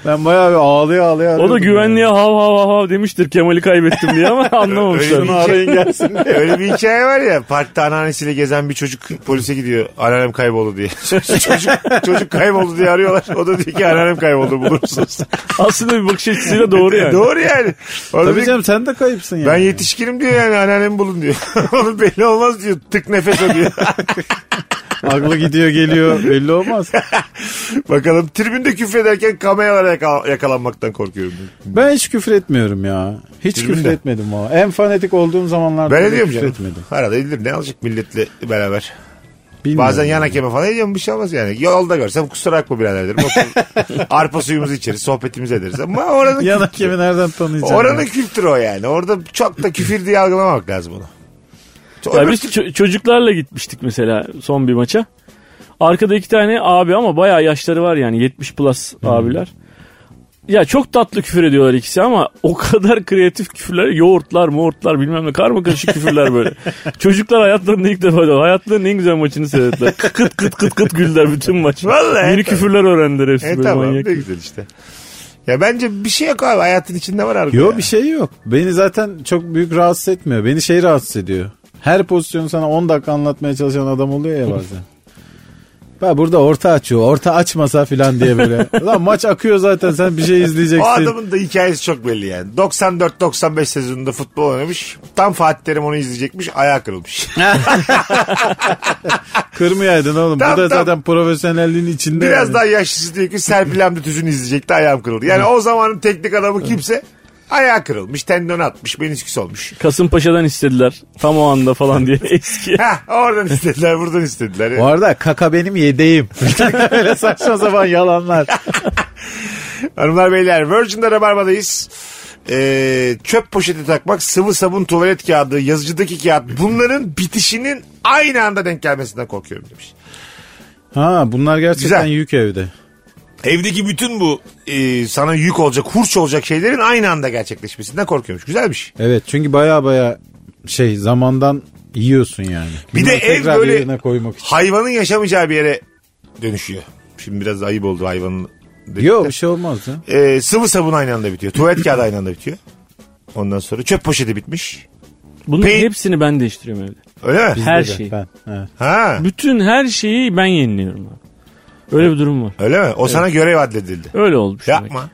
Speaker 4: ben bayağı bir ağlaya ağlaya
Speaker 5: O da
Speaker 4: arıyordum
Speaker 5: güvenliğe hav hav hav hav demiştir Kemal'i kaybettim
Speaker 3: <laughs>
Speaker 5: diye ama anlamamışlar.
Speaker 4: yani. Arayın gelsin.
Speaker 3: Öyle bir hikaye var ya parkta anneannesiyle gezen bir çocuk polise gidiyor anneannem kayboldu diye. <laughs> çocuk, çocuk kayboldu diye arıyorlar. O da diyor ki anneannem kayboldu
Speaker 4: <laughs>
Speaker 3: bulursunuz.
Speaker 5: Aslında bir bakış açısıyla doğru yani.
Speaker 3: Doğru yani. O da diyor
Speaker 4: Tabii
Speaker 3: ki,
Speaker 4: canım sen de kayıpsın yani.
Speaker 3: Ben yetişkinim diyor yani anneannemi bulun diyor. <laughs> Onun belli olmaz diyor. Tık nefes alıyor. <laughs>
Speaker 4: Aklı gidiyor geliyor belli olmaz.
Speaker 3: Bakalım tribünde küfrederken kameralara yakal- yakalanmaktan korkuyorum. diyor.
Speaker 4: Ben hiç küfür etmiyorum ya. Hiç
Speaker 3: Bilmiyorum.
Speaker 4: küfür etmedim valla. En fanatik olduğum zamanlarda
Speaker 3: Ben
Speaker 4: bile
Speaker 3: ediyorum
Speaker 4: küfür
Speaker 3: canım.
Speaker 4: etmedim.
Speaker 3: Arada edilir ne alacak milletle beraber.
Speaker 4: Bilmiyorum.
Speaker 3: Bazen yan hakeme falan ediyorum bir şey olmaz yani. Yolda görsem kusura bakma birader derim.
Speaker 4: <laughs>
Speaker 3: Otur- Arpa suyumuzu içeriz sohbetimizi ederiz. Ama oranın,
Speaker 4: yan hakemi nereden tanıyacaksın?
Speaker 3: oranın kültürü o yani. Orada çok da küfür diye algılamamak lazım onu.
Speaker 5: Ya
Speaker 3: Öbür
Speaker 4: şey
Speaker 5: biz
Speaker 3: türlü-
Speaker 5: ço- çocuklarla gitmiştik mesela son bir maça.
Speaker 3: Hmm.
Speaker 5: Arkada iki tane abi ama bayağı yaşları var yani 70 plus abiler. Ya çok tatlı küfür ediyorlar ikisi ama o <laughs> kadar kreatif küfürler. Yoğurtlar, moğurtlar bilmem ne karma karışık
Speaker 3: <laughs>
Speaker 5: küfürler böyle. Çocuklar hayatlarında ilk defa hayatlarının en güzel maçını seyrettiler. Kıt kıt kıt kıt güldüler bütün maç.
Speaker 3: Vallahi,
Speaker 5: Yeni
Speaker 3: evet.
Speaker 5: küfürler öğrendiler hepsi
Speaker 3: E
Speaker 5: böyle
Speaker 3: tamam
Speaker 5: manyak.
Speaker 3: ne güzel işte. Ya bence bir şey yok abi hayatın içinde var harbi.
Speaker 4: Yok
Speaker 3: ya.
Speaker 4: bir şey yok. Beni zaten çok büyük rahatsız etmiyor. Beni şey rahatsız ediyor. Her pozisyonu sana 10 dakika anlatmaya çalışan adam oluyor
Speaker 3: <laughs>
Speaker 4: ya bazen. Ben burada orta açıyor. Orta açmasa filan
Speaker 3: <laughs>
Speaker 4: diye böyle. Lan maç akıyor zaten sen bir şey
Speaker 3: O
Speaker 4: izleyeceksin.
Speaker 3: adamın da hikayesi çok belli yani. 94-95 sezonunda futbol oynamış. Tam Fatih Terim onu izleyecekmiş. Ayağı kırılmış.
Speaker 4: Kırmayaydın oğlum.
Speaker 3: Tam,
Speaker 4: Bu da
Speaker 3: tam.
Speaker 4: zaten profesyonelliğin içinde.
Speaker 3: Biraz
Speaker 4: yani.
Speaker 3: daha yaşlısı diyor ki Serpil Hamdi Tüzün'ü izleyecekti ayağım kırıldı. Yani o zamanın teknik adamı kimse ayağı kırılmış, tendon atmış, menisküs olmuş.
Speaker 5: Kasımpaşa'dan istediler tam o anda falan diye <laughs> eski.
Speaker 3: Heh, oradan istediler, buradan istediler.
Speaker 4: Bu arada kaka benim yedeğim. <laughs> Öyle saçma sapan yalanlar.
Speaker 3: Hanımlar beyler Virgin'de Rabarba'dayız. Ee, çöp poşeti takmak, sıvı sabun, tuvalet kağıdı, yazıcıdaki kağıt bunların bitişinin aynı anda denk gelmesinden korkuyorum demiş.
Speaker 4: Ha bunlar gerçekten
Speaker 3: Güzel.
Speaker 4: yük evde.
Speaker 3: Evdeki bütün bu e, sana yük olacak, hurç olacak şeylerin aynı anda gerçekleşmesinden korkuyormuş. Güzelmiş.
Speaker 4: Evet çünkü baya baya şey zamandan yiyorsun yani.
Speaker 3: Bir de
Speaker 4: Bunları
Speaker 3: ev
Speaker 4: tekrar
Speaker 3: böyle-
Speaker 4: yerine koymak için.
Speaker 3: Hayvanın yaşamayacağı bir yere dönüşüyor. Şimdi biraz ayıp oldu hayvanın. dedik
Speaker 4: Yok
Speaker 3: de.
Speaker 4: bir şey olmaz ya.
Speaker 3: Ee, sıvı sabun aynı anda bitiyor. Tuvalet kağıdı aynı anda bitiyor. Ondan sonra çöp poşeti bitmiş.
Speaker 5: Bunun
Speaker 3: Pe-
Speaker 5: hepsini ben değiştiriyorum evde.
Speaker 3: Öyle mi?
Speaker 5: Her şey.
Speaker 4: Bizde de.
Speaker 5: şeyi.
Speaker 4: Ben, evet.
Speaker 3: Ha.
Speaker 5: Bütün her şeyi ben yeniliyorum abi. Öyle bir durum var.
Speaker 3: Öyle mi? O sana görev adledildi.
Speaker 5: Öyle olmuş. demek.
Speaker 3: Yapma.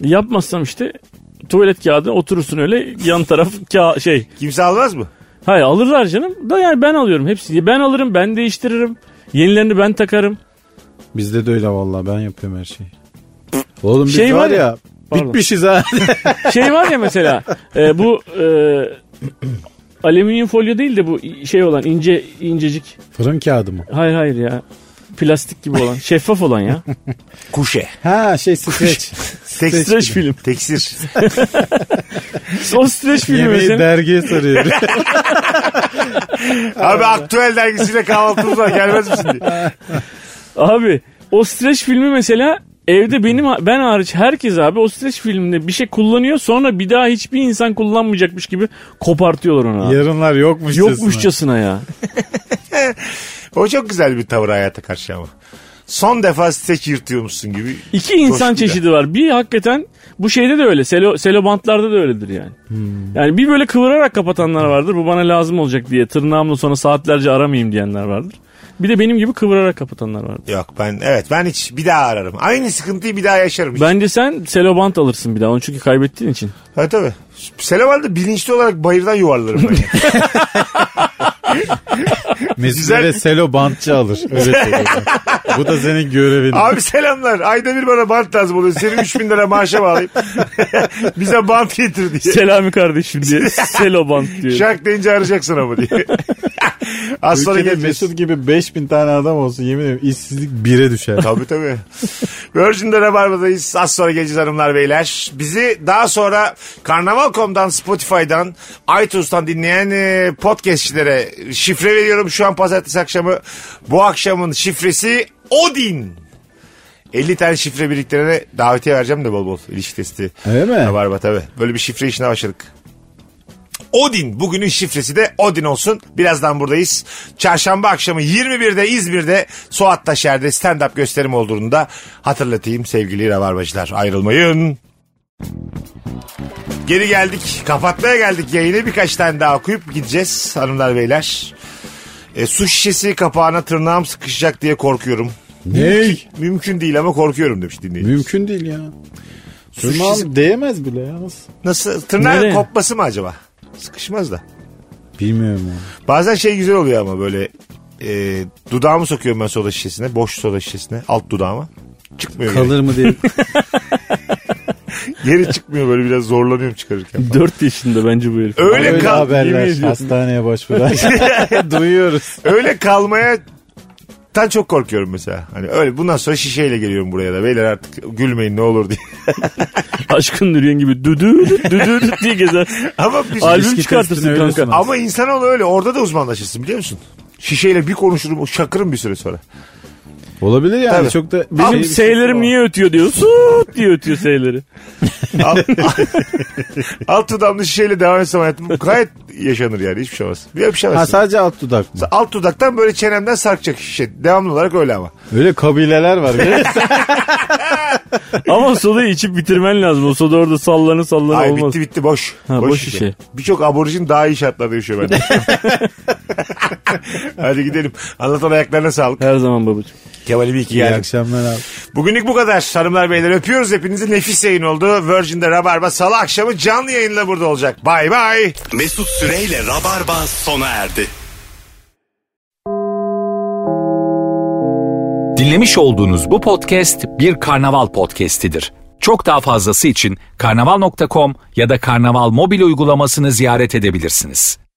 Speaker 5: Yapmazsam işte tuvalet kağıdı oturursun öyle yan taraf <laughs> ka- şey.
Speaker 3: Kimse almaz mı?
Speaker 5: Hayır alırlar canım da yani ben alıyorum hepsini. Ben alırım ben değiştiririm. Yenilerini ben takarım.
Speaker 4: Bizde de öyle vallahi ben yapıyorum her şeyi. Oğlum biz
Speaker 5: Şey
Speaker 4: var
Speaker 5: var ya-
Speaker 4: ya
Speaker 5: Pardon.
Speaker 4: bitmişiz ha. <laughs>
Speaker 5: Şey var ya mesela e, bu e, alüminyum folyo değil de bu şey olan ince incecik.
Speaker 4: Fırın kağıdı mı?
Speaker 5: Hayır hayır ya. Plastik gibi olan. Şeffaf olan ya.
Speaker 3: Kuşe.
Speaker 4: Ha şey streç.
Speaker 5: Streç film.
Speaker 3: Teksir.
Speaker 5: <laughs> O streç
Speaker 4: <laughs>
Speaker 5: filmi
Speaker 4: Yemeği
Speaker 5: mesela.
Speaker 4: dergiye sarıyor.
Speaker 3: Abi aktüel dergisiyle kahvaltımız var gelmez misin diye.
Speaker 5: Abi o streç filmi mesela evde benim ben hariç herkes abi o streç filminde bir şey kullanıyor sonra bir daha hiçbir insan kullanmayacakmış gibi kopartıyorlar onu abi.
Speaker 4: Yarınlar yokmuş.
Speaker 5: Yokmuşçasına ya.
Speaker 3: O çok güzel bir tavır hayata karşı ama. Son defa steak yırtıyormuşsun gibi.
Speaker 5: İki insan
Speaker 3: Coşkuyla.
Speaker 5: çeşidi var. Bir hakikaten bu şeyde de öyle. Selo, selobantlarda da öyledir yani. Yani bir böyle kıvırarak kapatanlar vardır. Bu bana lazım olacak diye. Tırnağımla sonra saatlerce aramayayım diyenler vardır. Bir de benim gibi kıvırarak kapatanlar vardır.
Speaker 3: Yok ben evet ben hiç bir daha ararım. Aynı sıkıntıyı bir daha yaşarım. Hiç.
Speaker 5: Bence sen selobant alırsın bir daha. Onu çünkü kaybettiğin için.
Speaker 3: Ha tabii. Selaman'da bilinçli olarak bayırdan yuvarlarım
Speaker 4: <laughs>
Speaker 3: ben.
Speaker 4: Mesut
Speaker 3: Güzel.
Speaker 4: ve selo bantçı alır. Öyle söylüyorum. Bu da senin görevin.
Speaker 3: Abi selamlar. Ayda bir bana bant lazım oluyor. Senin 3000 lira maaşa bağlayıp <laughs> bize bant getir diye.
Speaker 5: Selami kardeşim diye. selobant diyor.
Speaker 3: Şak deyince arayacaksın ama
Speaker 4: <laughs>
Speaker 3: diye. Az sonra
Speaker 4: Ülkede
Speaker 3: geleceğiz.
Speaker 4: Mesut gibi 5000 tane adam olsun yemin ederim işsizlik
Speaker 3: <laughs>
Speaker 4: bire düşer.
Speaker 3: Tabii tabii. Virgin'de Rabarba'dayız. Az sonra geleceğiz hanımlar beyler. Bizi daha sonra Karnaval.com'dan, Spotify'dan, iTunes'tan dinleyen e, podcastçilere şifre veriyorum. Şu an pazartesi akşamı. Bu akşamın şifresi Odin. 50 tane şifre biriktirene davetiye vereceğim de bol bol ilişki testi.
Speaker 4: Öyle mi?
Speaker 3: Rabarba tabii. Böyle bir şifre işine başladık. Odin. Bugünün şifresi de Odin olsun. Birazdan buradayız. Çarşamba akşamı 21'de İzmir'de Suat Taşer'de stand-up gösterim olduğunu da hatırlatayım sevgili Rabarbacılar. Ayrılmayın. Geri geldik. Kapatmaya geldik yayını. Birkaç tane daha okuyup gideceğiz hanımlar beyler. E, su şişesi kapağına tırnağım sıkışacak diye korkuyorum.
Speaker 4: ne?
Speaker 3: Mümkün değil ama korkuyorum demiş dinleyici.
Speaker 4: Mümkün değil ya.
Speaker 3: Su şişesi-
Speaker 4: Tırnağım değmez bile ya. Nasıl?
Speaker 3: Nasıl? Tırnağın
Speaker 5: Nereye?
Speaker 3: kopması mı acaba? Sıkışmaz da.
Speaker 4: Bilmiyorum ya.
Speaker 3: Bazen şey güzel oluyor ama böyle e, dudağımı sokuyorum ben soda şişesine. Boş soda şişesine. Alt dudağıma. Çıkmıyor. Geri.
Speaker 4: Kalır mı diye.
Speaker 3: Geri çıkmıyor böyle biraz zorlanıyorum çıkarırken. falan.
Speaker 5: 4 yaşında bence bu herif.
Speaker 3: Öyle,
Speaker 4: Öyle
Speaker 3: kal
Speaker 4: haberler
Speaker 5: yemin ediyorum.
Speaker 4: hastaneye başvuran. Duyuyoruz.
Speaker 3: öyle kalmaya tan çok korkuyorum mesela. Hani öyle bundan sonra şişeyle geliyorum buraya da. Beyler artık gülmeyin ne olur diye. <laughs>
Speaker 5: Aşkın Nuriyen gibi düdü düdü düdü diye gezer.
Speaker 3: ama biz,
Speaker 5: Albüm
Speaker 4: Eski testini
Speaker 5: çıkartırsın
Speaker 4: öyle
Speaker 5: kanka.
Speaker 4: sunar.
Speaker 3: ama insanoğlu öyle orada da uzmanlaşırsın biliyor musun? Şişeyle bir konuşurum şakırım bir süre sonra.
Speaker 4: Olabilir yani
Speaker 3: Tabii.
Speaker 4: çok da...
Speaker 5: Benim
Speaker 4: Şey-
Speaker 5: seylerim niye ötüyor diyor. Suut diye ötüyor seyleri. <laughs>
Speaker 3: Alt, alt dudağımda şişeyle devam etsem hayatım gayet yaşanır yani hiçbir şey olmaz. Bir
Speaker 4: Ha
Speaker 3: öpüşemezsin.
Speaker 4: sadece alt dudak mı?
Speaker 3: Alt dudaktan böyle çenemden sarkacak şişe. Devamlı olarak öyle ama.
Speaker 4: Öyle kabileler var. biliyor musun?
Speaker 5: Ama sodayı içip bitirmen lazım. O soda orada sallanı sallanı
Speaker 3: Ay
Speaker 5: olmaz.
Speaker 3: bitti bitti boş.
Speaker 5: Ha, boş şişe.
Speaker 3: Birçok aborjin daha iyi şartlarda yaşıyor
Speaker 5: <laughs>
Speaker 3: bence. Hadi gidelim. Anlatan ayaklarına sağlık.
Speaker 5: Her zaman babacığım.
Speaker 3: Kemal'im iyi ki
Speaker 4: İyi
Speaker 3: geldin.
Speaker 4: akşamlar abi.
Speaker 3: Bugünlük bu kadar. Hanımlar beyler öpüyoruz hepinizi. Nefis yayın oldu. Virgin'de Rabarba salı akşamı canlı yayınla burada olacak. Bay bay.
Speaker 2: Mesut Süreyle Rabarba sona erdi.
Speaker 1: Dinlemiş olduğunuz bu podcast bir karnaval podcastidir. Çok daha fazlası için karnaval.com ya da karnaval mobil uygulamasını ziyaret edebilirsiniz.